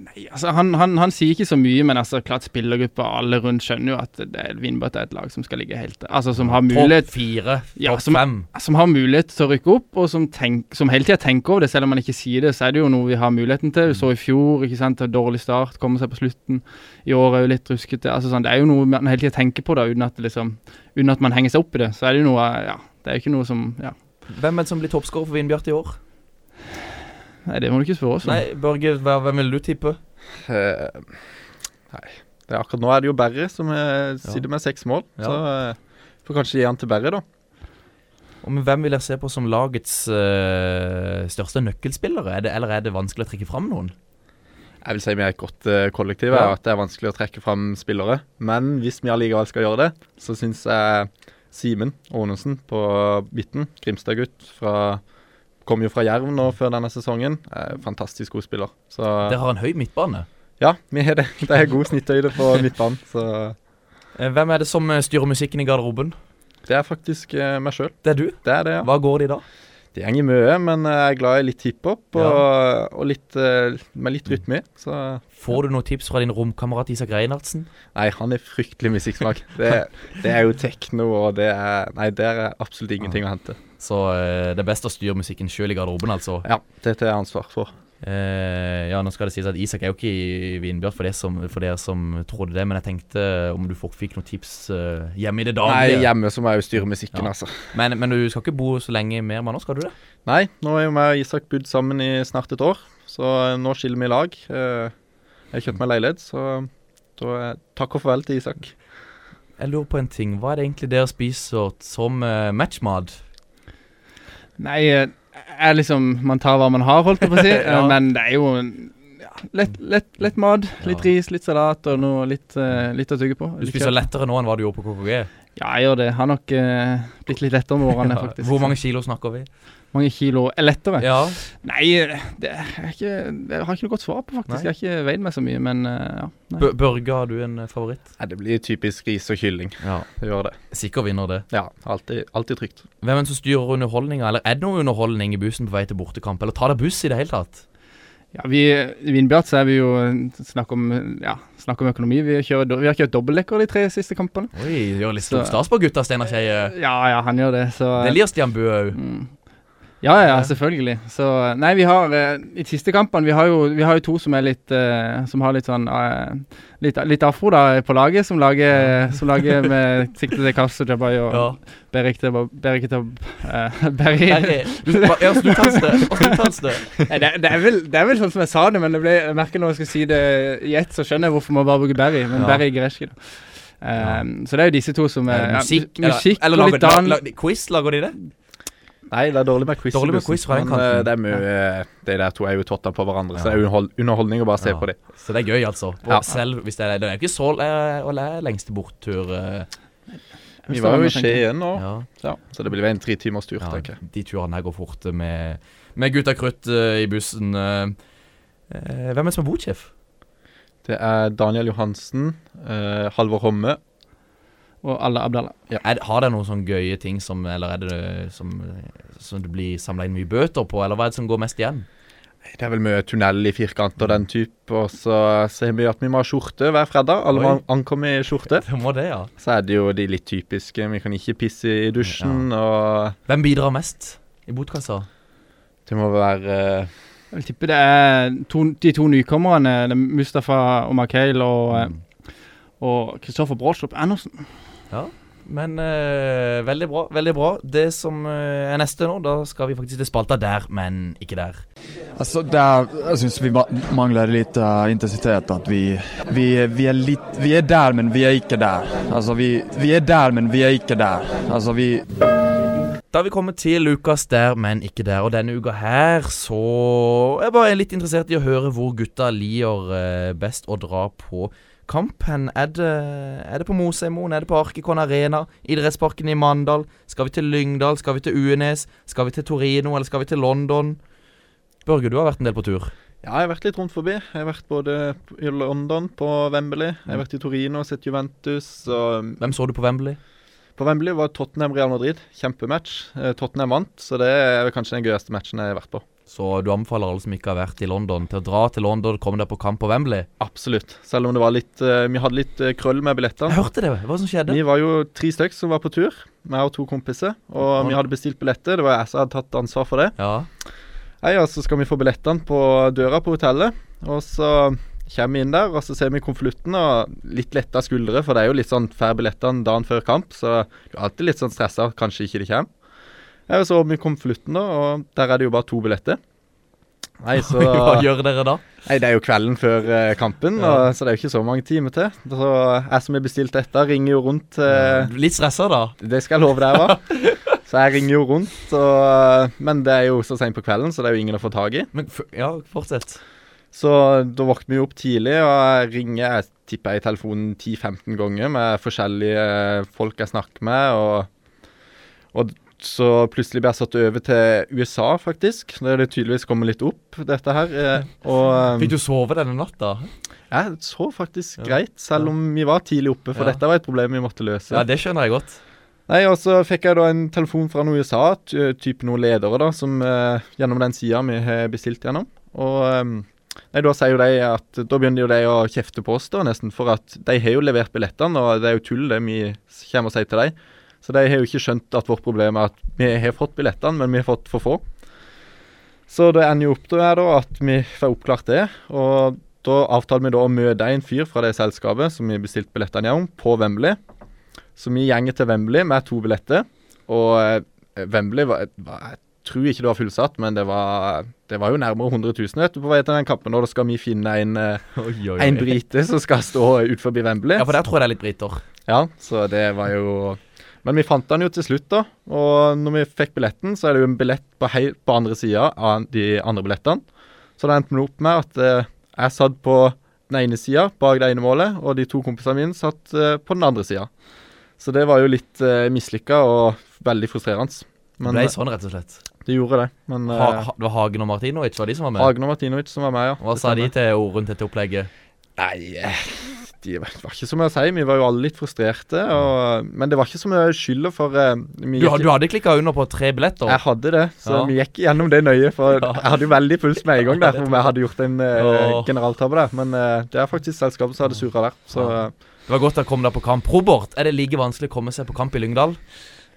Nei, altså, han, han, han sier ikke så mye, men altså, klart spillergruppa og alle rundt skjønner jo at det er Vindbøtta er et lag som skal ligge helt Altså som har mulighet Topp fire, Ja, topp som- fem. som har mulighet til å rykke opp, og som, tenk, som hele tida tenker over det. Selv om man ikke sier det, så er det jo noe vi har muligheten til. Mm. Vi så i fjor, ikke sant, dårlig start, komme seg på slutten. I år er jo litt ruskete. Altså, sånn, det er jo noe man hele tida tenker på, da, uten at, det liksom, uten at man henger seg opp i det. Så er det jo noe Ja, det er jo ikke noe som Ja. Hvem er det som blir toppskårer for Vindbjart i år? Nei, det må du ikke spørre oss om. Nei, Børge, hva- hvem vil du tippe? Eh, nei. Det er akkurat nå er det jo Berre som eh, sitter med seks mål. Ja. Så eh, får kanskje gi han til Berre, da. Og men hvem vil dere se på som lagets eh, største nøkkelspillere? Er det, eller er det vanskelig å trekke fram noen? Jeg vil si vi er et godt eh, kollektiv, Ja. og at det er vanskelig å trekke fram spillere. Men hvis vi allikevel skal gjøre det, så syns jeg Simen Aanensen på midten, Grimstad-gutt fra Kom jo fra Jerv nå før denne sesongen. er Fantastisk god spiller. Så Dere har en høy midtbane. ja, vi har det. Det er god snittøyde på midtbanen. Så Eh, Hvem er det som eh, styrer musikken i garderoben? det er faktisk eh, meg sjøl. Det er du. Det er det, ja. Hva går det i da? Det går mye, men eh, jeg er glad i litt hiphop og, og litt, eh, med litt rytme. i, Så Får du noen tips fra din romkamerat Isak Reinhardsen? Nei, han er fryktelig *laughs* musikksmak. Det, det er jo tekno, og det er Nei, der er absolutt ingenting å hente. Så eh, det er best å styre musikken sjøl i garderoben, altså. Ja, dette er ansvar for. Eh, ja, nå skal det sies at Isak er jo ikke i Vinbjørn, for, det som, for dere som trodde det, men jeg tenkte eh, om du folk fikk noen tips eh, hjemme i det Nei, daglige. hjemme så må jeg jo styre musikken, Ja. altså. men, men du skal ikke bo så lenge mer med han nå, skal du det? Nei, nå er jo jeg og Isak bodd sammen i snart et år, så eh, nå skiller vi lag. Eh, Jeg kjøpte meg leilighet, så da eh, takk og farvel til Isak. Jeg lurer på en ting. Hva er det egentlig dere spiser som eh, matchmat? Nei, eh, er liksom Man tar hva man har, holdt jeg på å *laughs* si. eh, Ja. Men det er jo en- ja, lett, lett, lett mat. Litt Ja. ris, litt salat og noe litt, eh, litt å tygge på. Du Litt spiser kjøtt. lettere nå enn hva du gjorde på KKG. Ja, jeg gjør det. Har nok eh, blitt litt lettere med *laughs* årene, faktisk. Hvor mange kilo snakker vi? Mange kilo er lettere? Ja, Nei, eh, det er ikke, det har jeg ikke noe godt svar på, Nei. faktisk. Jeg har ikke veid meg så mye, men eh, ja. Nei. B Børge, har du en eh, favoritt? Nei, det blir typisk ris og kylling. Ja. Det gjør det. Sikker vinner det. Ja, alltid, alltid trygt. Hvem er det som styrer underholdninga, eller er det noe underholdning i bussen på vei til bortekamp, eller tar det buss i det hele tatt? Ja, vi, I Vindbjart så er vi jo eh, snakk om, ja, snakk om økonomi. Vi, kjører, do- vi har kjørt dobbeltdekker de tre siste kampene. Oi, gjør litt Så- stor stas på gutta, Steinar Skeie. Ja, ja, han gjør det, så Det lir Stian Bø òg. Mm. Ja, ja, ja, selvfølgelig. Så, nei, vi har eh, i de siste kampene Vi har jo, vi har jo to som er litt eh, Som har litt sånn eh, litt, litt afro da på laget, som lager, som *laughs* lager med sikte til Kasso Jabay og Ja. Berik til Berik til eh, *laughs* Berry. Herre, du- hva- ja, snuttans det. Og snuttans det. Nei, det, det, er vel, det er vel sånn som jeg sa det, men det ble, jeg merker når jeg skal si det i ett, så skjønner jeg hvorfor man bare bruker Berry, men Ja. Berry greier ikke det. Eh, Så det er jo disse to som er, Eh, ja, Musikk, mu- musikk eller, eller og litt lager, annen la, la, Quiz, lager de det? Nei, det er dårlig med quiz. i Dårlig med bussen, quiz fra den men, eh, kanten. Det er mye, De der to er jo totta på hverandre, så Ja. det er underhold, underholdning å bare se Ja. på dem. Så det er gøy, altså. Og Ja. Selv hvis det er Det er jo ikke så eh, å lære lengste borttur. eh, Vi var jo i Hvis det er Skien nå, Ja. ja. så det blir en tre timers tur, Ja, tenker jeg. de turene her går fort eh, med, med gutta krutt eh, i bussen. eh. Eh, hvem er det som er botsjef? Det er Daniel Johansen, eh, Halvor Homme. Og alle Abdallah. Er, har dere noen sånne gøye ting som Eller er det eh, som, som det blir samla inn mye bøter på, eller hva er det som går mest igjen? Det er vel mye tunnel i firkant og den type. Og så ser vi at vi må ha skjorte hver fredag. Alle må Oi. ankomme i skjorte. *laughs* Det må det, ja. Så er det jo de litt typiske. Vi kan ikke pisse i dusjen, og Hvem bidrar mest i botkassa? det må være eh, Jeg vil tippe det er to, de to nykommerne, det er Mustafa Omarkeil og, eh, Mm. og Kristoffer Bråstrup Andersen. Men eh, veldig bra. veldig bra Det som eh, er neste nå, da skal vi faktisk til spalta der, men ikke der. Altså, det er, jeg syns vi ma- mangler litt eh, intensitet. At vi, vi, vi, er litt, vi er der, men vi er ikke der. Altså, vi, vi er der, men vi er ikke der. Altså, vi, Da har vi kommet til Lukas der, men ikke der. Og denne uka her så er jeg bare litt interessert i å høre hvor gutta liker eh, best å dra på kamp. Hen er det, er det på Mosemoen, er det på Arkikon Arena, idrettsparken i Mandal? Skal vi til Lyngdal, skal vi til Uenes, skal vi til Torino, eller skal vi til London? Børge, du har vært en del på tur. Ja, jeg har vært litt rundt forbi. Jeg har vært både i London, på Wembley, jeg har vært i Torino, sett Juventus. Og mm, Hvem så du på Wembley? på Wembley var Tottenham Real Madrid. Kjempematch. Eh, Tottenham vant, så det er vel kanskje den gøyeste matchen jeg har vært på. Så du anbefaler alle som ikke har vært i London, til å dra til London og komme deg på kamp på Wembley? Absolutt. Selv om det var litt eh, Vi hadde litt eh, krøll med Jeg billettene. hørte det. Hva som skjedde? Vi var jo tre stykk som var på tur, meg og to kompiser. Og vi hadde bestilt billetter. Det var jeg som hadde tatt ansvar for det. Ja. Hei, og så skal vi få billettene på døra på hotellet. Og så kommer vi inn der, og så ser vi konvolutten og litt letta skuldre, for det er jo litt sånn færre billettene dagen før kamp, så du er alltid litt sånn stressa, kanskje ikke det kommer. Ja, og så åpner vi konvolutten, da, og der er det jo bare to billetter. Nei, *laughs* så *laughs* Hva gjør dere da? Nei, det er jo kvelden før eh, kampen, og, så det er jo ikke så mange timer til. Så jeg som har bestilt dette, ringer jo rundt eh, Litt stressa, da? det skal jeg love deg, *laughs* hva. Så jeg ringer jo rundt, og, eh, men det er jo så seint på kvelden, så det er jo ingen å få tak i. Men f ja, fortsett. Så da våkner vi opp tidlig, og jeg ringer jeg tipper jeg i telefonen 10-15 ganger med forskjellige folk jeg snakker med. Og, og så plutselig blir jeg satt over til USA, faktisk. Da er det tydeligvis kommet litt opp, dette her. eh, Og Fikk du sove denne natta? jeg så faktisk greit, selv om vi var tidlig oppe, for Ja. dette var et problem vi måtte løse. Ja, det skjønner *laughs* jeg godt. Nei, og så fikk jeg da en telefon fra noen i USA, t- type noen ledere da, som eh, gjennom den sida vi har bestilt gjennom. Og ehm, nei, da sier jo de at Da begynner jo de å kjefte på oss, da, nesten. For at de har jo levert billettene, og det er jo tull det vi s- kommer og sier til dem. Så de har jo ikke skjønt at vårt problem er at vi har fått billettene, men vi har fått for få. Så det ender jo opp til her da at vi får oppklart det. Og da avtaler vi da å møte en fyr fra det selskapet som vi bestilte billettene gjennom, på Wembley. Så vi gjenger til Wembley med to billetter. Og eh, Wembley var, var Jeg tror ikke det var fullsatt, men det var, det var jo nærmere 100 000 vet du, på vei til den kampen. Og da skal vi finne en, eh, Oi, oi, en brite som skal stå ut forbi Wembley. Ja, for der tror jeg det er litt briter. Ja, så det var jo Men vi fant den jo til slutt, da. Og når vi fikk billetten, så er det jo en billett på, hei, på andre sida av de andre billettene. Så det endte vi opp med at eh, jeg satt på den ene sida bak det ene målet, og de to kompisene mine satt eh, på den andre sida. Så det var jo litt uh, mislykka og veldig frustrerende. Det Men ble eh, sånn, rett og slett. det gjorde det. Men Ha, eh, ha, det var Hagen og Martinovic var de som var med? Agner Martinovic som var med, ja. Hva Det sa de stemmer. til ordene til dette opplegget? Nei, eh, det var var ikke så mye å si. Vi var jo alle litt frustrerte. Og, men det var ikke så mye skylda for eh, vi Du, gikk- du hadde klikka under på tre billetter. Jeg hadde det, så Ja. vi gikk gjennom det nøye. For Ja. jeg hadde jo veldig puls med en gang, der, om jeg hadde gjort en uh, Åh. generaltabbe der. Men eh, det er faktisk selskapet som hadde surra der. Så eh, Ja. Det var godt å komme deg på kamp. Robert, er det like vanskelig å komme seg på kamp i Lyngdal?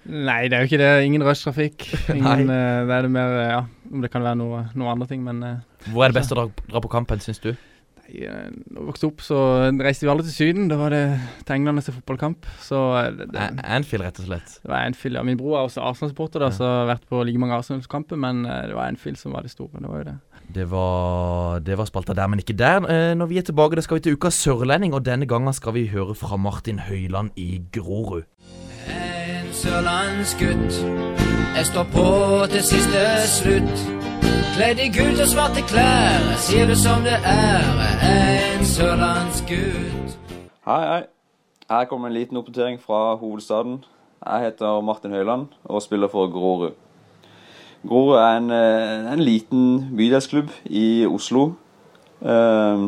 Nei, det er jo ikke det. Ingen rushtrafikk. *laughs* Nei. Ingen, eh, det er det mer, eh, ja, om det kan være noe, noe andre ting, men eh, Hvor er det best å dra, dra på kampen, syns du? Nei, eh, Når vi vokste opp, så reiste vi alle til Syden. Da var det til England og se fotballkamp. Så eh, det, det, A- Anfield, rett og slett. det var Anfield. Ja. Min bror er også Arsenal-supporter, da, så har vært på like mange Arsenal-kamper, men eh, det var Anfield som var det store. Det var jo det. Det var, det var spalta der, men ikke der. Eh, Når vi er tilbake, da skal vi til Ukas sørlending, og denne gangen skal vi høre fra Martin Høiland i Grorud. En sørlandsgutt. Jeg står på til siste slutt. Kledd i gult og svarte klær, jeg sier det som det er. En sørlandsgutt. Hei, hei. Her kommer en liten oppdatering fra hovedstaden. Jeg heter Martin Høiland og spiller for Grorud. Grorud er en, eh, en liten bydelsklubb i Oslo. eh,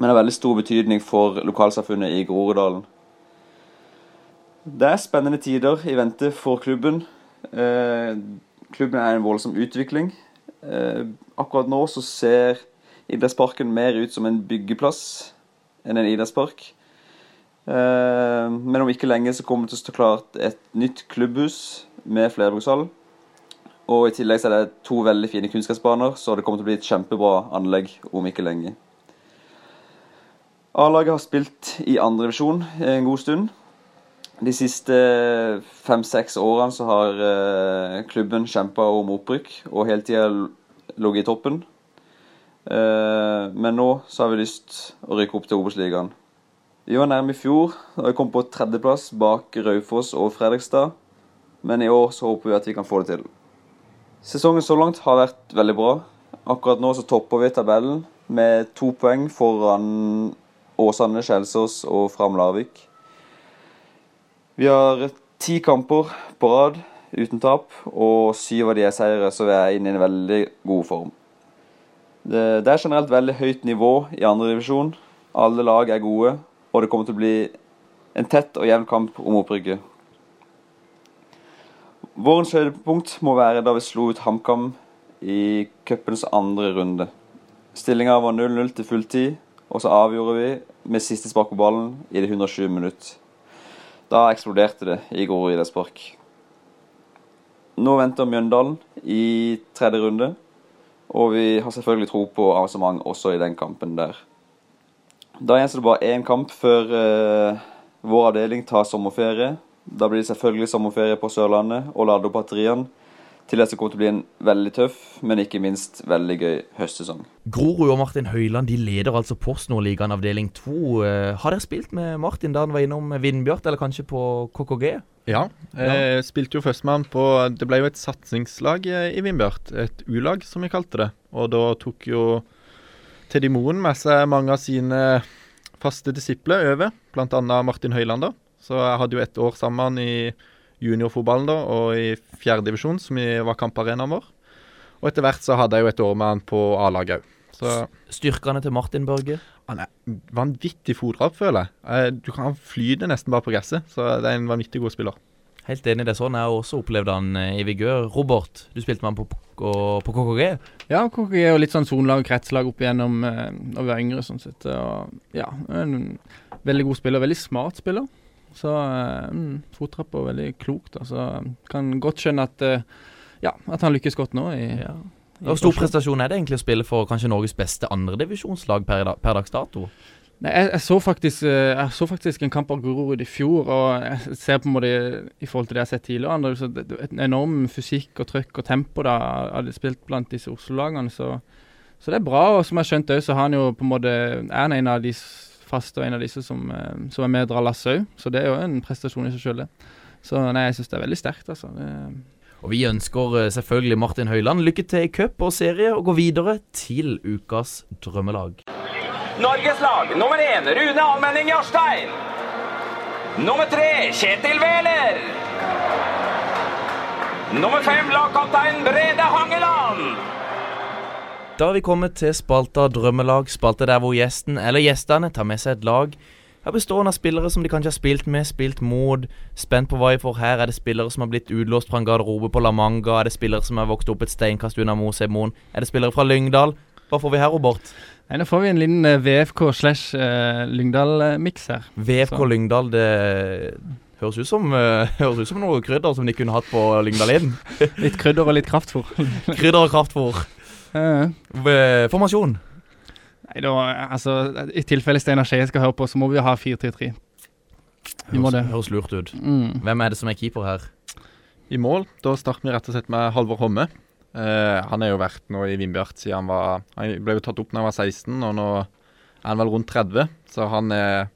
Men har veldig stor betydning for lokalsamfunnet i Groruddalen. Det er spennende tider i vente for klubben. Eh, Klubben er i en voldsom utvikling. Eh, Akkurat nå så ser idrettsparken mer ut som en byggeplass enn en idrettspark. Eh, Men om ikke lenge så kommer det til å stå klart et nytt klubbhus med flerbrukshall. Og i tillegg så er det to veldig fine kunnskapsbaner, så det kommer til å bli et kjempebra anlegg om ikke lenge. A-laget har spilt i andre divisjon eh, en god stund. De siste eh, fem-seks årene så har eh, klubben kjempa om opprykk og hele tida ligget i toppen. Eh, Men nå så har vi lyst å rykke opp til Obos-ligaen. Vi var nærme i fjor, da vi kom på tredjeplass bak Raufoss og Fredrikstad. Men i år så håper vi at vi kan få det til. Sesongen så langt har vært veldig bra. Akkurat nå så topper vi tabellen med to poeng foran Åsane, Kjelsås og Fram Larvik. Vi har ti kamper på rad uten tap, og syv av de er seire, så vi er inne i en veldig god form. Det, det er generelt veldig høyt nivå i andre divisjon. Alle lag er gode, og det kommer til å bli en tett og jevn kamp om opprykket. Vårens høydepunkt må være da vi slo ut HamKam i cupens andre runde. Stillinga var 0-0 til fulltid, og så avgjorde vi med siste spark på ballen i det 107 minutt. Da eksploderte det i går idrettspark. Nå venter Mjøndalen i tredje runde, og vi har selvfølgelig tro på arrangement også i den kampen der. Da gjenstår det bare én kamp før eh, vår avdeling tar sommerferie. Da blir det selvfølgelig sommerferie på Sørlandet og lade opp batteriene til det som kommer til å bli en veldig tøff, men ikke minst veldig gøy høstsesong. Grorud og Martin Høiland de leder altså Postnordligaen avdeling 2. Eh, Har dere spilt med Martin da han var innom Vindbjart, eller kanskje på KKG? Ja. Eh, spilte jo førstemann på Det ble jo et satsingslag eh, i Vindbjart. Et U-lag, som vi kalte det. Og da tok jo Teddy Moen med seg mange av sine faste disipler over, bl.a. Martin Høiland. da. Så jeg hadde jo ett år sammen i juniorfotballen da, og i fjerdedivisjon, som i- var kamparenaen vår. Og etter hvert så hadde jeg jo et år med han på A-laget òg. Så Styrkene til Martin Børge? han er vanvittig fodra opp, føler jeg. Eh, Du kan Han flyter nesten bare på gresset, så det er en vanvittig god spiller. Helt enig, det er sånn jeg også opplevde han eh, i vigør. Robert, du spilte med han på, på, på KKG. Ja, KKG er jo litt sånn sonelag og kretslag opp igjennom eh, da vi var yngre. sånn sett. Og, ja, en Veldig god spiller, veldig smart spiller. Så eh, mm, Fottrapp og veldig klok. da, så eh, Kan godt skjønne at, eh, ja, at han lykkes godt nå. i... Ja. i Hvor stor Oslo. prestasjon er det egentlig å spille for kanskje Norges beste andredivisjonslag per, da- per dags dato? Nei, jeg, jeg, så faktisk, eh, jeg så faktisk en kamp av Grorud i fjor, og jeg ser på en måte i forhold til det jeg har sett tidligere, andre, så det, det, er en enorm fysikk og trøkk og tempo da hadde spilt blant disse Oslo-lagene. Så, så det er bra, og som jeg skjønte òg, så har han jo på en måte er han en av de s- faste og en av disse som, eh, som er med og drar lasset òg, så det er jo en prestasjon i seg sjøl, det. Så nei, jeg syns det er veldig sterkt, altså. Det, Og vi ønsker eh, selvfølgelig Martin Høiland lykke til i cup og serie, og gå videre til ukas drømmelag. Norges lag nummer én Rune Almenning Jarstein. Nummer tre Kjetil Wæler. Nummer fem lagkaptein Brede Hangeland. Da har vi kommet til spalta Drømmelag, spalta der hvor gjesten eller gjestene tar med seg et lag. Her bestående av spillere som de kanskje har spilt med, spilt mot. Spent på hva jeg får her. Er det spillere som har blitt utlåst fra en garderobe på La Manga? Er det spillere som har vokst opp et steinkast unna Mosemoen? Er det spillere fra Lyngdal? Hva får vi her, Robert? nei, nå får vi en liten eh, VFK slash eh, Lyngdal-miks her. VFK Så- Lyngdal, det høres ut som, eh, *laughs* høres ut som noe krydder som de kunne hatt på Lyngdal Inn. Litt krydder og litt kraftfôr. Krydder og kraftfôr. Eh. V- Formasjon. Nei, da, altså, I tilfelle Steinar Skeie skal høre på, så må vi ha 4-3-3. Vi må det. Høres, høres lurt ut. Mm. Hvem er det som er keeper her? I mål, da starter vi rett og slett med Halvor Homme. Eh, han har jo vært nå i Vindbjart siden han var Han ble jo tatt opp da han var 16, og nå er han vel rundt 30. Så han er,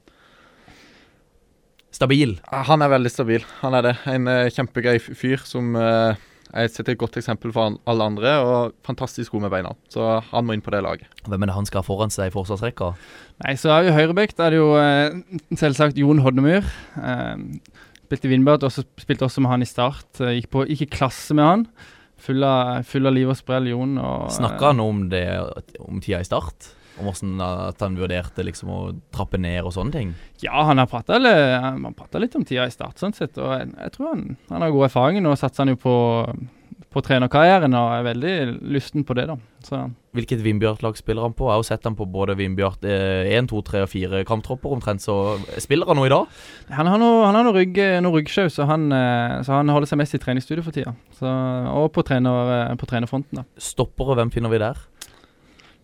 Stabil. han er veldig stabil. Han er det. En eh, kjempegøy f- fyr som eh, jeg setter et godt eksempel for an- alle andre, og fantastisk god med beina. Så han må inn på det laget. Hvem er det han skal ha foran seg i forsvarsrekka? Nei, så er vi Høyrebekk. Da er det jo eh, selvsagt Jon Hodnemyr. Eh, spilte i Vindbjart, og så spilte også med han i start. Eh, gikk, på, gikk i klasse med han. Full av, full av liv og sprell, Jon. Og, eh, Snakka han om det om tida i start? Om hvordan at han vurderte liksom å trappe ned og sånne ting? Ja, han har prata litt, litt om tida i start, sånn sett. Og jeg, jeg tror han, han har god erfaring. Nå satser han jo på, på trenerkarrieren og er veldig lysten på det, da. Så Hvilket Vindbjart-lag spiller han på? Jeg har jo sett han på både Vindbjart eh, 1, 2, 3 og 4 kamptropper omtrent, så spiller han nå i dag? Han har noe, han har noe, rygg, noe ryggsjau, så, han, eh, så han holder seg mest i treningsstudio for tida. Så, og på, trener, eh, på trenerfronten, da. Stopper, og hvem finner vi der?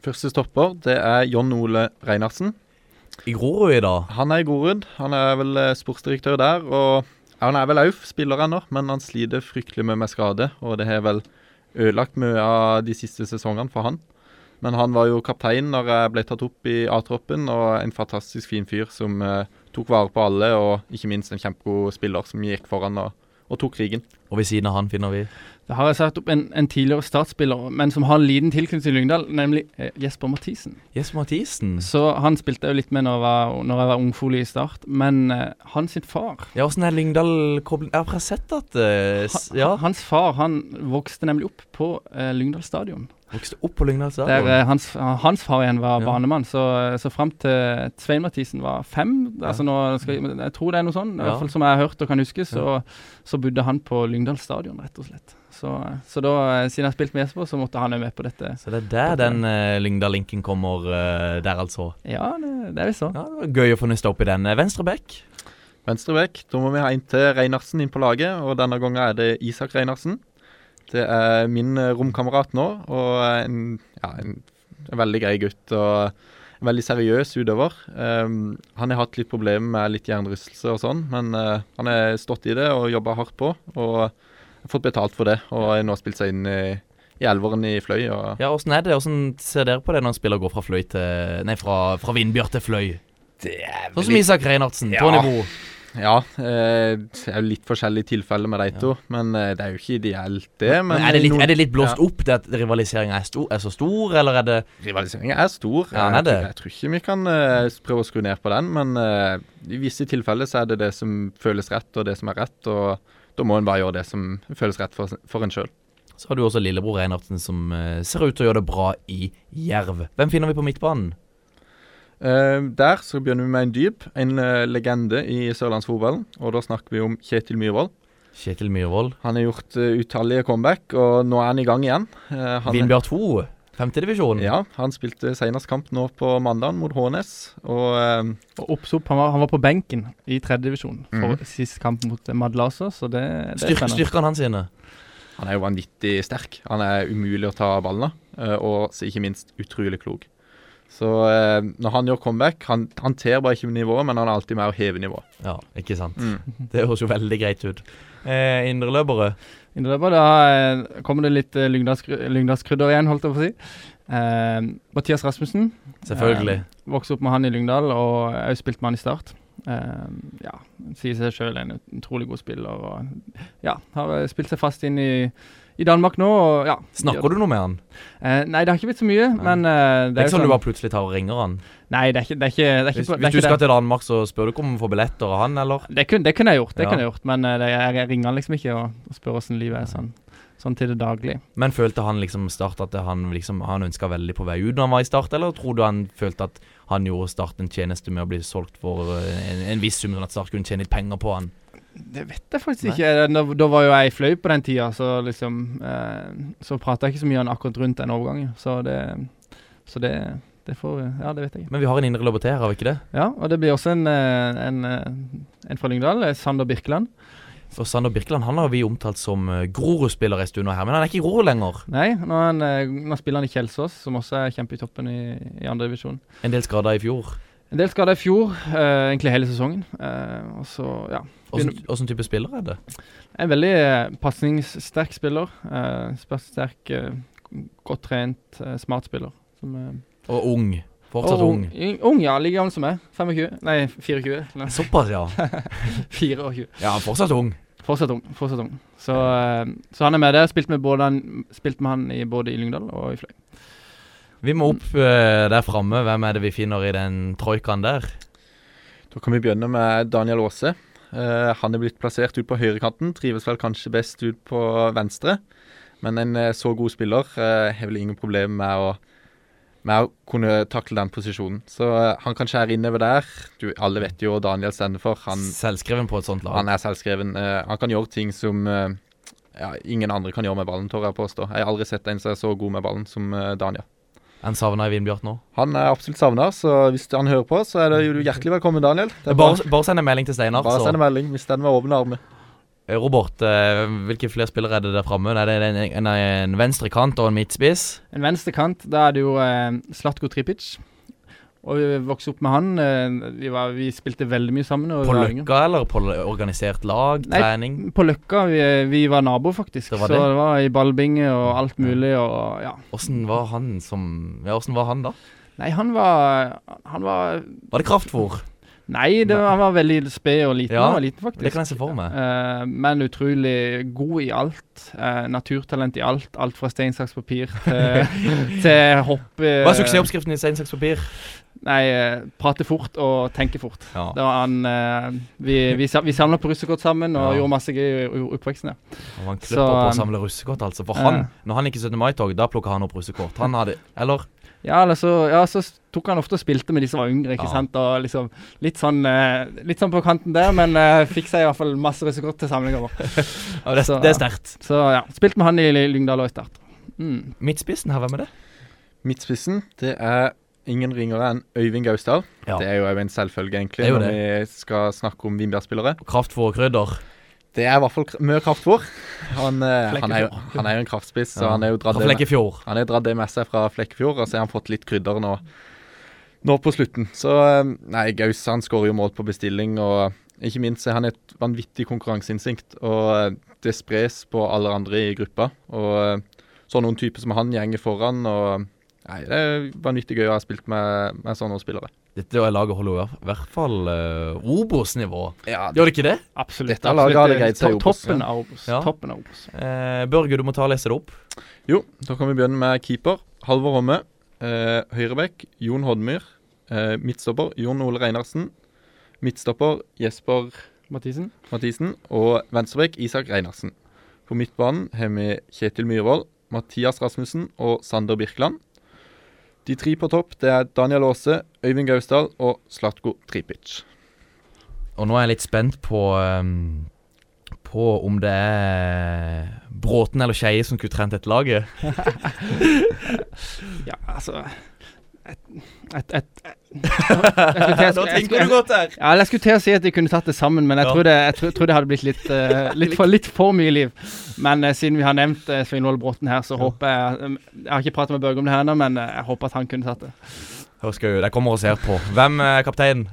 Første stopper det er John Ole Reinarsen. I Grorud i dag? Han er i Gorud. Han er vel eh, sportsdirektør der. Og ja, han er vel òg spiller ennå, men han sliter fryktelig mye med skade. Og det har vel ødelagt mye av de siste sesongene for han. Men han var jo kaptein når jeg ble tatt opp i A-troppen, og en fantastisk fin fyr som eh, tok vare på alle, og ikke minst en kjempegod spiller som gikk foran og, og tok krigen. Og ved siden av han finner vi Da har jeg satt opp en, en tidligere startspiller, men som har en liten tilknytning til Lyngdal, nemlig eh, Jesper Mathisen. Jesper Mathisen. Så han spilte jeg jo litt med når jeg var, når jeg var ungfolig i start, men eh, han sin far Ja, åssen er Lyngdal-koblen Jeg har bare sett at eh, s- han, Ja. Hans far han vokste nemlig opp på eh, Lyngdal stadion. Vokste opp på Lyngdal Der, stadion. eh, hans, hans far igjen var Ja. banemann, så, eh, så fram til Svein Mathisen var fem altså nå skal jeg, jeg tror det er noe sånn, i Ja. hvert fall som jeg har hørt og kan huske, så, så bodde han på Lyngdal stadion, rett og slett. Så, så da, eh, siden jeg har spilt med Jesper, så måtte han jo med på dette. Så det er der den eh, Lyngdal-linken kommer eh, der, altså. Ja, det, det er visst sånn. Ja, det var Gøy å få nøsta opp i den. Eh, Venstrebekk. Venstre vekk. Da må vi ha en til Reinarsen inn på laget, og denne gangen er det Isak Reinarsen. Det er min eh, romkamerat nå, og eh, en, ja, en, en veldig grei gutt. og en Veldig seriøs utøver. Ehm, han har hatt litt problemer med litt hjernerystelse og sånn, men eh, han har stått i det og jobba hardt på, og har fått betalt for det. Og har nå spilt seg inn i, i elveren i Fløy. og... Ja, Åssen er det? Åssen ser dere på det når en spiller går fra fløy til Nei, fra, fra Vindbjørn til fløy? Sånn som Isak Reinhardsen, på Ja. nivå. Ja, eh, det er jo litt forskjellige tilfeller med de to, men eh, det er jo ikke ideelt, det. Men Men er, det litt, er det litt blåst Ja. opp det at rivaliseringa er, sto- er så stor, eller er det Rivaliseringen liksom, er stor. Ja, den er det. Jeg, tror ikke vi kan eh, prøve å skru ned på den, men eh, i visse tilfeller så er det det som føles rett, og det som er rett. og da må en bare gjøre det som føles rett for, for en sjøl. Så har du også lillebror Reinhardsen som eh, ser ut til å gjøre det bra i Jerv. Hvem finner vi på midtbanen? Eh, der så begynner vi med en dyp, en eh, legende i sørlandsfotballen. Og da snakker vi om Kjetil Myhrvold. Kjetil Myhrvold. Han har gjort eh, utallige comeback, og nå er han i gang igjen. Eh, han- Vindbjørn 2, femtedivisjon. Ja, han spilte senest kamp nå på mandag mot Hånes. Og eh, Og oppsopp, han var, han var på benken i tredjedivisjon for sist kamp mot eh, Mad Laser, så det, det er Styrk, spennende. styrkene hans sine. han er jo vanvittig sterk. Han er umulig å ta ballen av, eh, og så ikke minst utrolig klok. Så eh, når han gjør comeback Han han ter bare ikke nivået, men han er alltid med å heve nivået. Ja, ikke sant. Det høres jo veldig greit ut. Eh, Indreløpere. I det løpet, da eh, kommer det litt eh, lyngdalskry- lyngdalskrydder igjen, holdt jeg på å si. Eh, Mathias Rasmussen. Selvfølgelig. Eh, vokste opp med han i Lyngdal, og jeg har jo spilt med han i Start. Eh, ja, sier seg sjøl en utrolig god spiller. Og, ja, har eh, spilt seg fast inn i, i Danmark nå. Og, ja, Snakker du noe med han? Eh, nei, det har ikke blitt så mye, Nei. men eh, Det er jo ikke sånn sånn- du bare plutselig tar og ringer han. Nei, det er ikke det. Er ikke, det, er Hvis, hvis ikke, det, du skal er ikke det. til Danmark, så spør du ikke om han får billett og han, eller? det kunne, det kunne jeg gjort, det Ja. kunne jeg gjort, men eh, det, jeg, jeg ringer han liksom ikke og, og spør åssen livet er sånn, sånn til det daglige. Men følte han liksom Start at han liksom Han ønska veldig på vei ut når han var i Start, eller tror du han følte at han gjorde Start en tjeneste med å bli solgt for eh, en, en viss sum, sånn at Start kunne tjene litt penger på han? Det vet jeg faktisk ikke. Da, da var jo jeg i fløy på den tida, så liksom eh, Så prata jeg ikke så mye om akkurat rundt den overgangen. Så det Så det, det får Ja, det vet jeg ikke. Men vi har en indre løper til her, har vi ikke det? Ja, og det blir også en, eh, en, eh, en fra Lyngdal, eh, Sander Birkeland. For Sander Birkeland han har vi omtalt som eh, Grorud-spiller en stund nå her, men han er ikke i Grorud lenger. Nei, nå, er han, eh, nå spiller han i Kjelsås, som også er kjempe i toppen i, i andre divisjon. En del skader i fjor. En del skader i fjor, eh, egentlig hele sesongen. Eh, og så, ja. Åssen åssen type spiller er det? En veldig eh, pasningssterk spiller. Eh, Pasningssterk, eh, godt trent, eh, smart spiller. Som eh, Og ung. Fortsatt Og ung. ung. Ung, ja. Like gammel som meg. 25. Nei, 24. *laughs* Nei, Såpass, ja. 24. Ja, han er fortsatt ung. Fortsatt ung. fortsatt ung. Så, eh, så han er med der. Spilt med, både han, spilt med han i, både i Lyngdal og i Fløy. Vi må opp eh, der framme. Hvem er det vi finner i den troikaen der? Da kan vi begynne med Daniel Aase. Eh, han er blitt plassert ut på høyrekanten. Trives vel kanskje best ut på venstre. Men en eh, så god spiller eh, har vel ingen problemer med å med å kunne takle den posisjonen. Så eh, han kan skjære innover der. Du, alle vet jo hva Daniel stender for. Han, Selvskreven på et sånt lag. han er selvskreven. Eh, han kan gjøre ting som eh, ja, ingen andre kan gjøre med ballen, tør jeg påstå. Jeg har aldri sett en som er så god med ballen som eh, Daniel. Han savna i Vindbjart nå. Han er absolutt savna, så hvis han hører på, så er det jo hjertelig velkommen, Daniel. Det er Bare, altså. bare send en melding til Steinar. bare så- send en melding hvis den var åpne armer. Robert, eh, hvilke flere spillere er det der framme? Er det en, en, en venstre kant og en midtspiss? En venstre kant, da er det jo eh, Slatko Tripic. Og vi vokste opp med han. Eh, vi, var, vi spilte veldig mye sammen. Og vi På var yngre. Løkka, eller på l- organisert lag? Nei. Trening? På Løkka. Vi, vi var naboer, faktisk. Det var Så det. det var i ballbinge og alt mulig. og ja. Åssen var han som Ja, åssen var han da? Nei, han var, han var Var det kraftfôr? Nei, det, var- han var veldig sped og liten. Ja, han var liten faktisk. Det kan jeg se for meg. Eh, men utrolig god i alt. Eh, naturtalent i alt. *laughs* Alt fra stein, saks, papir til, til hopp. eh, Hva er suksessoppskriften i Steinsaks papir? Nei, eh, prate fort og tenke fort. Ja. Det var han eh, Vi, vi, sa- vi samla på russekort sammen og Ja. gjorde masse gøy i i oppveksten. Ja. Og han Så, klipper på å um, samle russekort, altså. For ja. han, når han gikk i 17. mai-tog, da plukka han opp russekort. Han hadde Eller? Ja, eller så, ja, så s- tok han ofte og spilte med de som var yngre. ikke Ja. sant? Og liksom Litt sånn eh, litt sånn på kanten der, men eh, fikk seg i hvert fall masse russekort til samlinga vår. Ja, det, Så, det ja. er sterkt. Så ja, spilte med han i Ly- Lyngdal og i Start. Mm. Midtspissen her, hvem er det? Midtspissen, det er ingen ringere enn Øyvind Gausdal. Ja. Det er jo en selvfølge, Det egentlig, er jo når vi skal snakke om Vindbjerg-spillere. Kraftfôr og krydder. Det er i hvert fall kr- mye kraftfôr. Han, eh, han, er jo, Flekkefjord. han er jo en kraftspiss, så Ja. han er jo dratt Fra det med, Flekkefjord. han er dratt det med seg fra Flekkefjord, og så har han fått litt krydder nå, nå på slutten. Så eh, nei, Gaus han skårer jo mål på bestilling, og eh, ikke minst så er han et vanvittig konkurranseinstinkt. Og eh, det spres på alle andre i gruppa. Og eh, så noen typer som han gjenger foran, og nei, det er vanvittig gøy å ha spilt med, med sånne spillere. Dette laget holder jo i hvert- hvert fall eh, Obos-nivå. Ja, det, Gjør det ikke det? Absolutt. Dette laget hadde greid seg i To- Obos, Toppen av Obos. Ja. Toppen av Obos. Eh, Børge, du må ta og lese det opp. Jo, da kan vi begynne med keeper. Halvor Homme. Eh, Høyrebekk Jon Hodmyr. Eh, midtstopper Jon Ole Reinarsen. Midtstopper Jesper Mathisen? Mathisen. Og venstrebekk Isak Reinarsen. På midtbanen har vi Kjetil Myhrvold, Mathias Rasmussen og Sander Birkeland. De tre på topp det er Daniel Aase, Øyvind Gausdal og Slatko Tripic. Og nå er jeg litt spent på ehm, På om det er Bråten eller Skeie som kunne trent dette laget. Ja, altså et, et, et, et, godt der. Ja, eller jeg skulle til å si at de kunne tatt det sammen, men jeg Ja. tror, det, jeg tror, tror det hadde blitt litt, eh, litt, for, litt for mye liv. Men eh, siden vi har nevnt eh, Sveinvold Bråten her, så håper jeg eh, Jeg har ikke pratet med Børge om det her ennå, men eh, jeg håper at han kunne tatt det. Her skal jo, De kommer og ser på. Hvem eh, er kapteinen?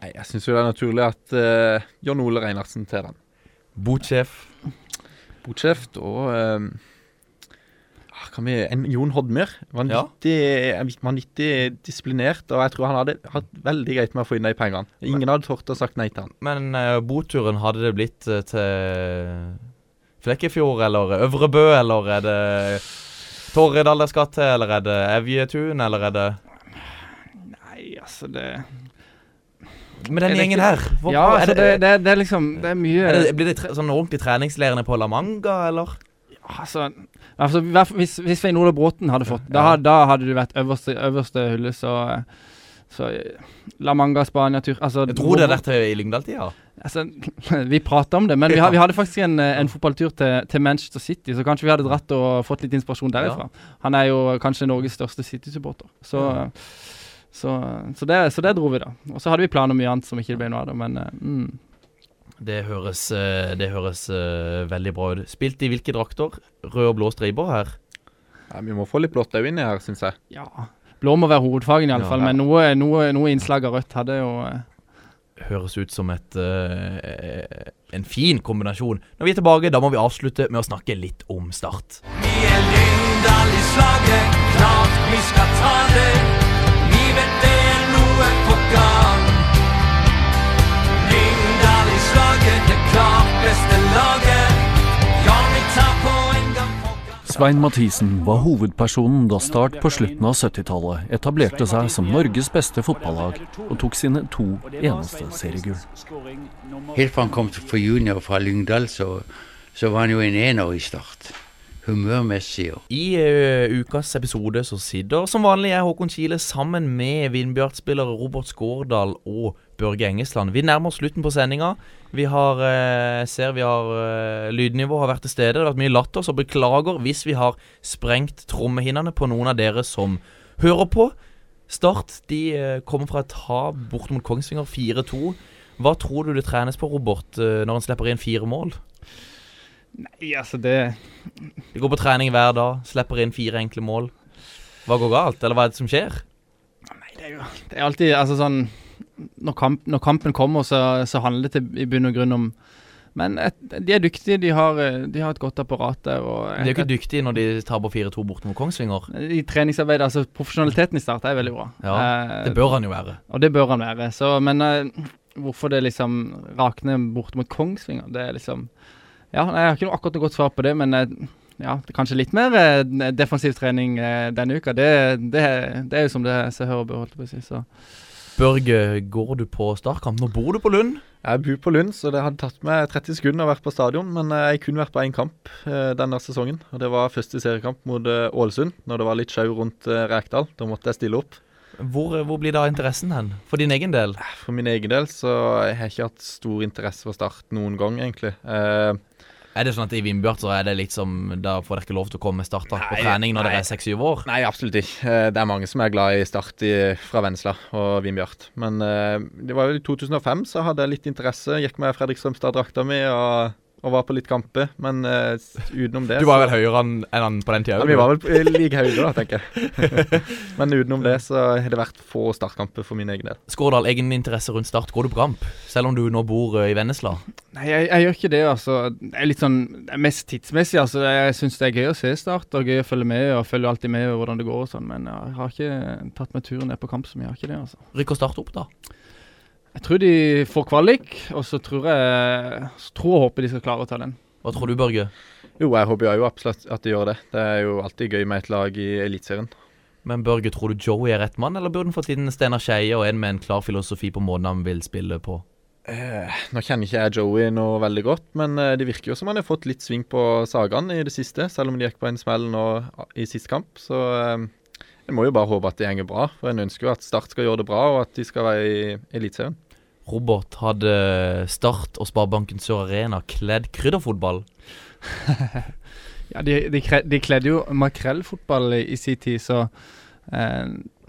Nei, Jeg syns det er naturlig at eh, Jon Ole Reinarsen til den. Botsjef. Botsjef og ehm, ah, kan vi, en Jon Hodmyr. Vanvittig, eh, vanvittig disiplinert. Og jeg tror han hadde hatt veldig greit med å få inn de pengene. Ingen hadde tort å sagt nei til han. Men eh, boturen, hadde det blitt eh, til Flekkefjord eller Øvrebø, eller er det Torredal det skal til, eller er det Evjetun, eller er det Nei, altså det Med den Er det gjengen ikke- her, hvor, Ja, er altså, det, det, det, det er liksom Det er mye er det, Blir det tre, sånn ordentlig treningsleirene på La Manga, eller? Altså, altså i hvert fall hvis, hvis Svein Ole Bråten hadde fått da, Ja. da hadde du vært øverste, øverste hylle, så, så La Manga, Spania-tur altså, Jeg tror det er der til i Lyngdal-tida. Altså, *laughs* vi prater om det, men vi, Ja. ha- vi hadde faktisk en, eh, en fotballtur til, til Manchester City, så kanskje vi hadde dratt og fått litt inspirasjon derifra. Han er jo kanskje Norges største City-supporter. Så, Ja. så, så, det, så det dro vi, da. Og så hadde vi planer om mye annet som ikke det ble noe av, da, men eh, mm. Det høres, eh, det høres eh, veldig bra ut. Spilt i hvilke drakter? Rød og blå striper her. Nei, vi må få litt blått òg inni her, syns jeg. ja. Blå må være hovedfagen, Ja. iallfall, fall, men noe, noe, noe innslag av rødt hadde jo eh, Høres ut som et, eh, en fin kombinasjon. Når vi er tilbake, da må vi avslutte med å snakke litt om Start. Vi er Lyngdal i slaget, klart vi skal ta det. Vi vet det er noe på gang. Lyngdal i slaget, det klart beste laget. Ja, vi tar på en gang på gang. Svein Mathisen var hovedpersonen da Start på slutten av 70-tallet etablerte seg som Norges beste fotballag og tok sine to eneste seriegull. Helt fra han kom fra junior fra Lyngdal, så, så var han jo en ener i Start. Humørmessig og I eh, ukas episode så sitter som vanlig jeg, Håkon Kile, sammen med Vindbjart-spillere Robert Skårdal og Børge Engesland. Vi nærmer oss slutten på sendinga. Vi har eh, ser vi har eh, lydnivå har vært til stede. Det har vært mye latter, så beklager hvis vi har sprengt trommehinnene på noen av dere som hører på. Start de eh, kommer fra et tap borte mot Kongsvinger 4-2. Hva tror du det trenes på, Robert, eh, når en slipper inn fire mål? Nei, altså det De går på trening hver dag, slipper inn fire enkle mål. Hva går galt, eller hva er det som skjer? Nei, det er jo Det er alltid altså sånn Når, kamp, når kampen kommer, så, så handler det til, i bunn og grunn om Men et, de er dyktige. De har, eh, de har et godt apparat der. Og De er jo ikke dyktige når de taper 4-2 borte mot Kongsvinger. I treningsarbeidet, altså Profesjonaliteten i Start er veldig bra. Ja, Eh, Det bør han jo være. og det bør han være. Så, men eh, hvorfor det liksom rakner borte mot Kongsvinger, det er liksom Ja, nei, jeg har ikke noe, akkurat noe godt svar på det, men eh, ja, kanskje litt mer eh, defensiv trening eh, denne uka. Det, det, det er jo som det ser hører og bør, holdt jeg på å si. Så. Børge, går du på startkamp? Nå bor du på Lund. Jeg bor på Lund, så det hadde tatt meg 30 sekunder å være på stadion. Men eh, jeg kunne vært på én kamp eh, denne sesongen. Og Det var første seriekamp mot eh, Ålesund, når det var litt sjau rundt eh, Rekdal. Da måtte jeg stille opp. Eh, Hvor, eh, hvor blir da interessen hen? For din egen del? For min egen del så har jeg ikke hatt stor interesse for Start noen gang, egentlig. Eh, Er det sånn at i Vindbjart så er det liksom Da får dere ikke lov til å komme med startdrakt på Nei, trening når dere nei. er seks-syv år? Nei, absolutt ikke. Eh, Det er mange som er glad i Start i, fra Vennesla og Vindbjart. Men eh, det var jo i 2005 så hadde jeg litt interesse. Gikk med Fredrikstrømstad-drakta mi og, og var på litt kamper. Men eh, s- utenom det Du var vel høyere enn enn han på den tida? ja, Vi var vel på- i like høyde, da, tenker *laughs* jeg. Men utenom det så har det vært få startkamper for min egen del. Skårdal, egen interesse rundt Start. Går du på kamp? Selv om du nå bor eh, i Vennesla? Nei, jeg, jeg gjør ikke det, altså. Det er litt sånn det er mest tidsmessig, altså. Jeg syns det er gøy å se Start, og gøy å følge med, og følger alltid med hvordan det går og sånn, men jeg har ikke tatt meg turen ned på kamp som jeg har ikke det, altså. Rykker Start opp, da? Jeg tror de får kvalik, og så tror jeg så tror og håper de skal klare å ta den. Hva tror du, Børge? Jo, jeg håper jo absolutt at de gjør det. Det er jo alltid gøy med et lag i Eliteserien. Men Børge, tror du Joey er rett mann, eller burde han fått inn Steinar Skeie og en med en klar filosofi på måten han vil spille på? Eh, Nå kjenner ikke jeg Joey nå veldig godt, men eh, det virker jo som han har fått litt sving på sagene i det siste, selv om de gikk på en smell nå i sist kamp. Så eh, en må jo bare håpe at det gjenger bra, for en ønsker jo at Start skal gjøre det bra, og at de skal være i Eliteserien. Robert hadde Start og Sparebanken Sør Arena kledd krydderfotball. Ja, de, de, kre- de kledde jo makrellfotball i, i sin tid, så eh,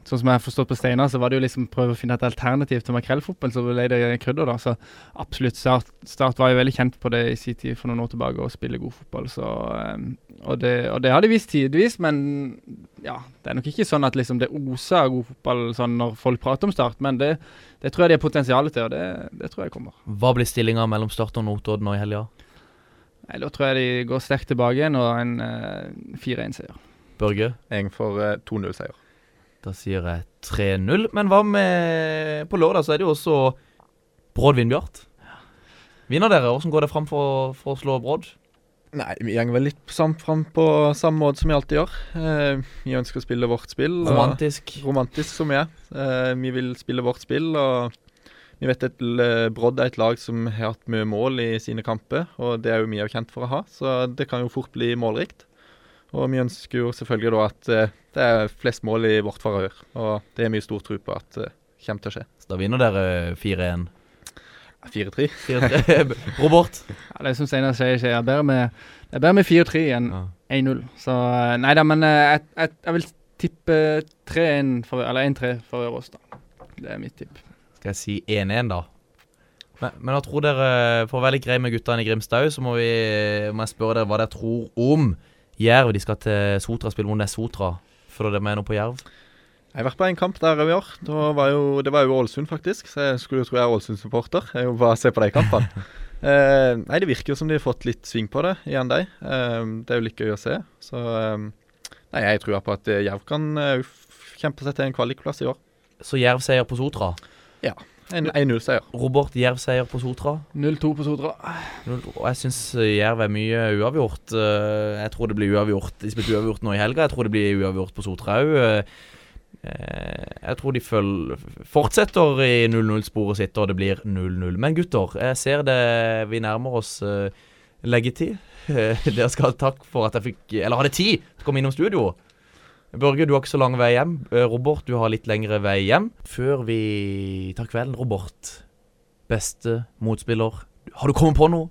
Sånn som jeg har forstått på Steinar, så var det jo liksom prøve å finne et alternativ til makrellfotball, så ble det krydder, da. Så absolutt, Start, start var jo veldig kjent på det i sin tid for noen år tilbake, å spille god fotball. Så, eh, og, det, og det har de vist tidvis, men ja, det er nok ikke sånn at liksom det oser av god fotball sånn når folk prater om Start, men det, det tror jeg de har potensial til, og det, det tror jeg kommer. Hva blir stillinga mellom Start og Notodden nå i helga? Nei, Da tror jeg de går sterkt tilbake igjen, og en eh, 4-1-seier. Børge? Jeg får eh, 2-0-seier. Da sier jeg 3-0. Men hva med På lørdag så er det jo også Bråd Vindbjart. Vinner dere? Hvordan går det fram for, for å slå Bråd? Nei, vi går vel litt sam fram på samme måte som vi alltid gjør. Eh, vi ønsker å spille vårt spill. og- Romantisk. romantisk som vi er. Eh, vi vil spille vårt spill, og vi vet at L- Brodd er et lag som har hatt mye mål i sine kamper, og det er jo vi også kjent for å ha, så det kan jo fort bli målrikt. Og vi ønsker jo selvfølgelig da at eh, det er flest mål i vårt favør, og det er mye stor tro på at det kommer til å skje. Så da vinner dere 4-1. 4-3. 4-3. *laughs* Robert? Ja, det er som Steinar sier, sier jeg er bedre med, det er bedre med 4-3 enn Ja. 1-0. Så eh, nei da, men eh, jeg, jeg, jeg vil tippe 3-1 for, eller 1-3 for oss, da. Det er mitt tipp. Skal jeg si 1-1, da? Men, men jeg tror dere, eh, for å være litt grei med guttene i Grimstad òg, så må, vi, må jeg spørre dere hva dere tror om Jerv. De skal til Sotra spille mot Sotra. Følger dere med nå på Jerv? Jeg har vært på en kamp der i år. Da var jo, det var jo Ålesund, faktisk. Så jeg skulle jo tro jeg er Ålesund-supporter. Jeg vil bare se på de kampene. eh, nei, det virker jo som de har fått litt sving på det igjen, de. Eh, det er jo litt gøy å se. Så eh, nei, jeg tror på at eh, Jerv kan eh, f- kjempe seg til en kvalikplass i år. Så Jerv-seier på Sotra. En 1-0-seier. Robert, Jerv-seier på Sotra. 0-2 på Sotra. Null- Og jeg syns Jerv er mye uavgjort. Eh, Jeg tror det blir uavgjort. De spilte uavgjort nå i helga. Jeg tror det blir uavgjort på Sotra òg. Jeg tror de føl fortsetter i 0-0-sporet sitt, og det blir 0-0. Men gutter, jeg ser det vi nærmer oss eh, leggetid. Eh, *laughs* Dere skal ha takk for at jeg fikk Eller hadde tid til å komme innom studio. Børge, du har ikke så lang vei hjem. Eh, Robert, du har litt lengre vei hjem. Før vi tar kvelden, Robert. Beste motspiller. Har du kommet på noe?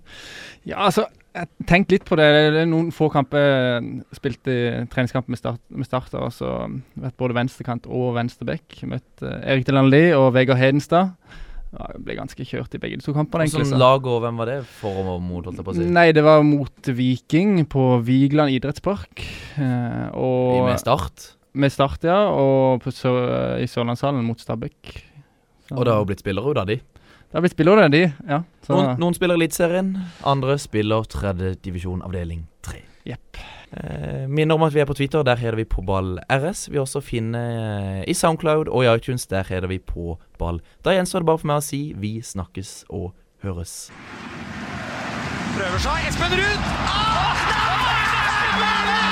Ja, altså, jeg tenkte litt på det. Det er noen få kamper eh, spilt i treningskamp med start, med start og så eh, vært både venstrekant og venstreback. Møtt eh, Erik Deland Lie og Vegard Hedenstad. Ja, jeg ble ganske kjørt i begge de to kampene, egentlig. Hvilket så- lag og hvem var det for og mot, holdt jeg på å si? Nei, det var mot Viking på Vigeland idrettspark. I Eh, og Med Start. med Start, ja. Og på Sør i Sørlandshallen mot Stabæk. Så- Og det har jo blitt spillere ut av de. Det har blitt spillere, de. Ja. Så, Noen, noen spiller Eliteserien, andre spiller tredje divisjon avdeling 3. Jepp. Eh, minner om at vi er på Twitter, der heter vi på ball RS. Vi er også finne i Soundcloud og i iTunes, der heter vi på ball. Da gjenstår det bare for meg å si vi snakkes og høres. Prøver seg. Espen Ruud! Ah! Nei! blir det!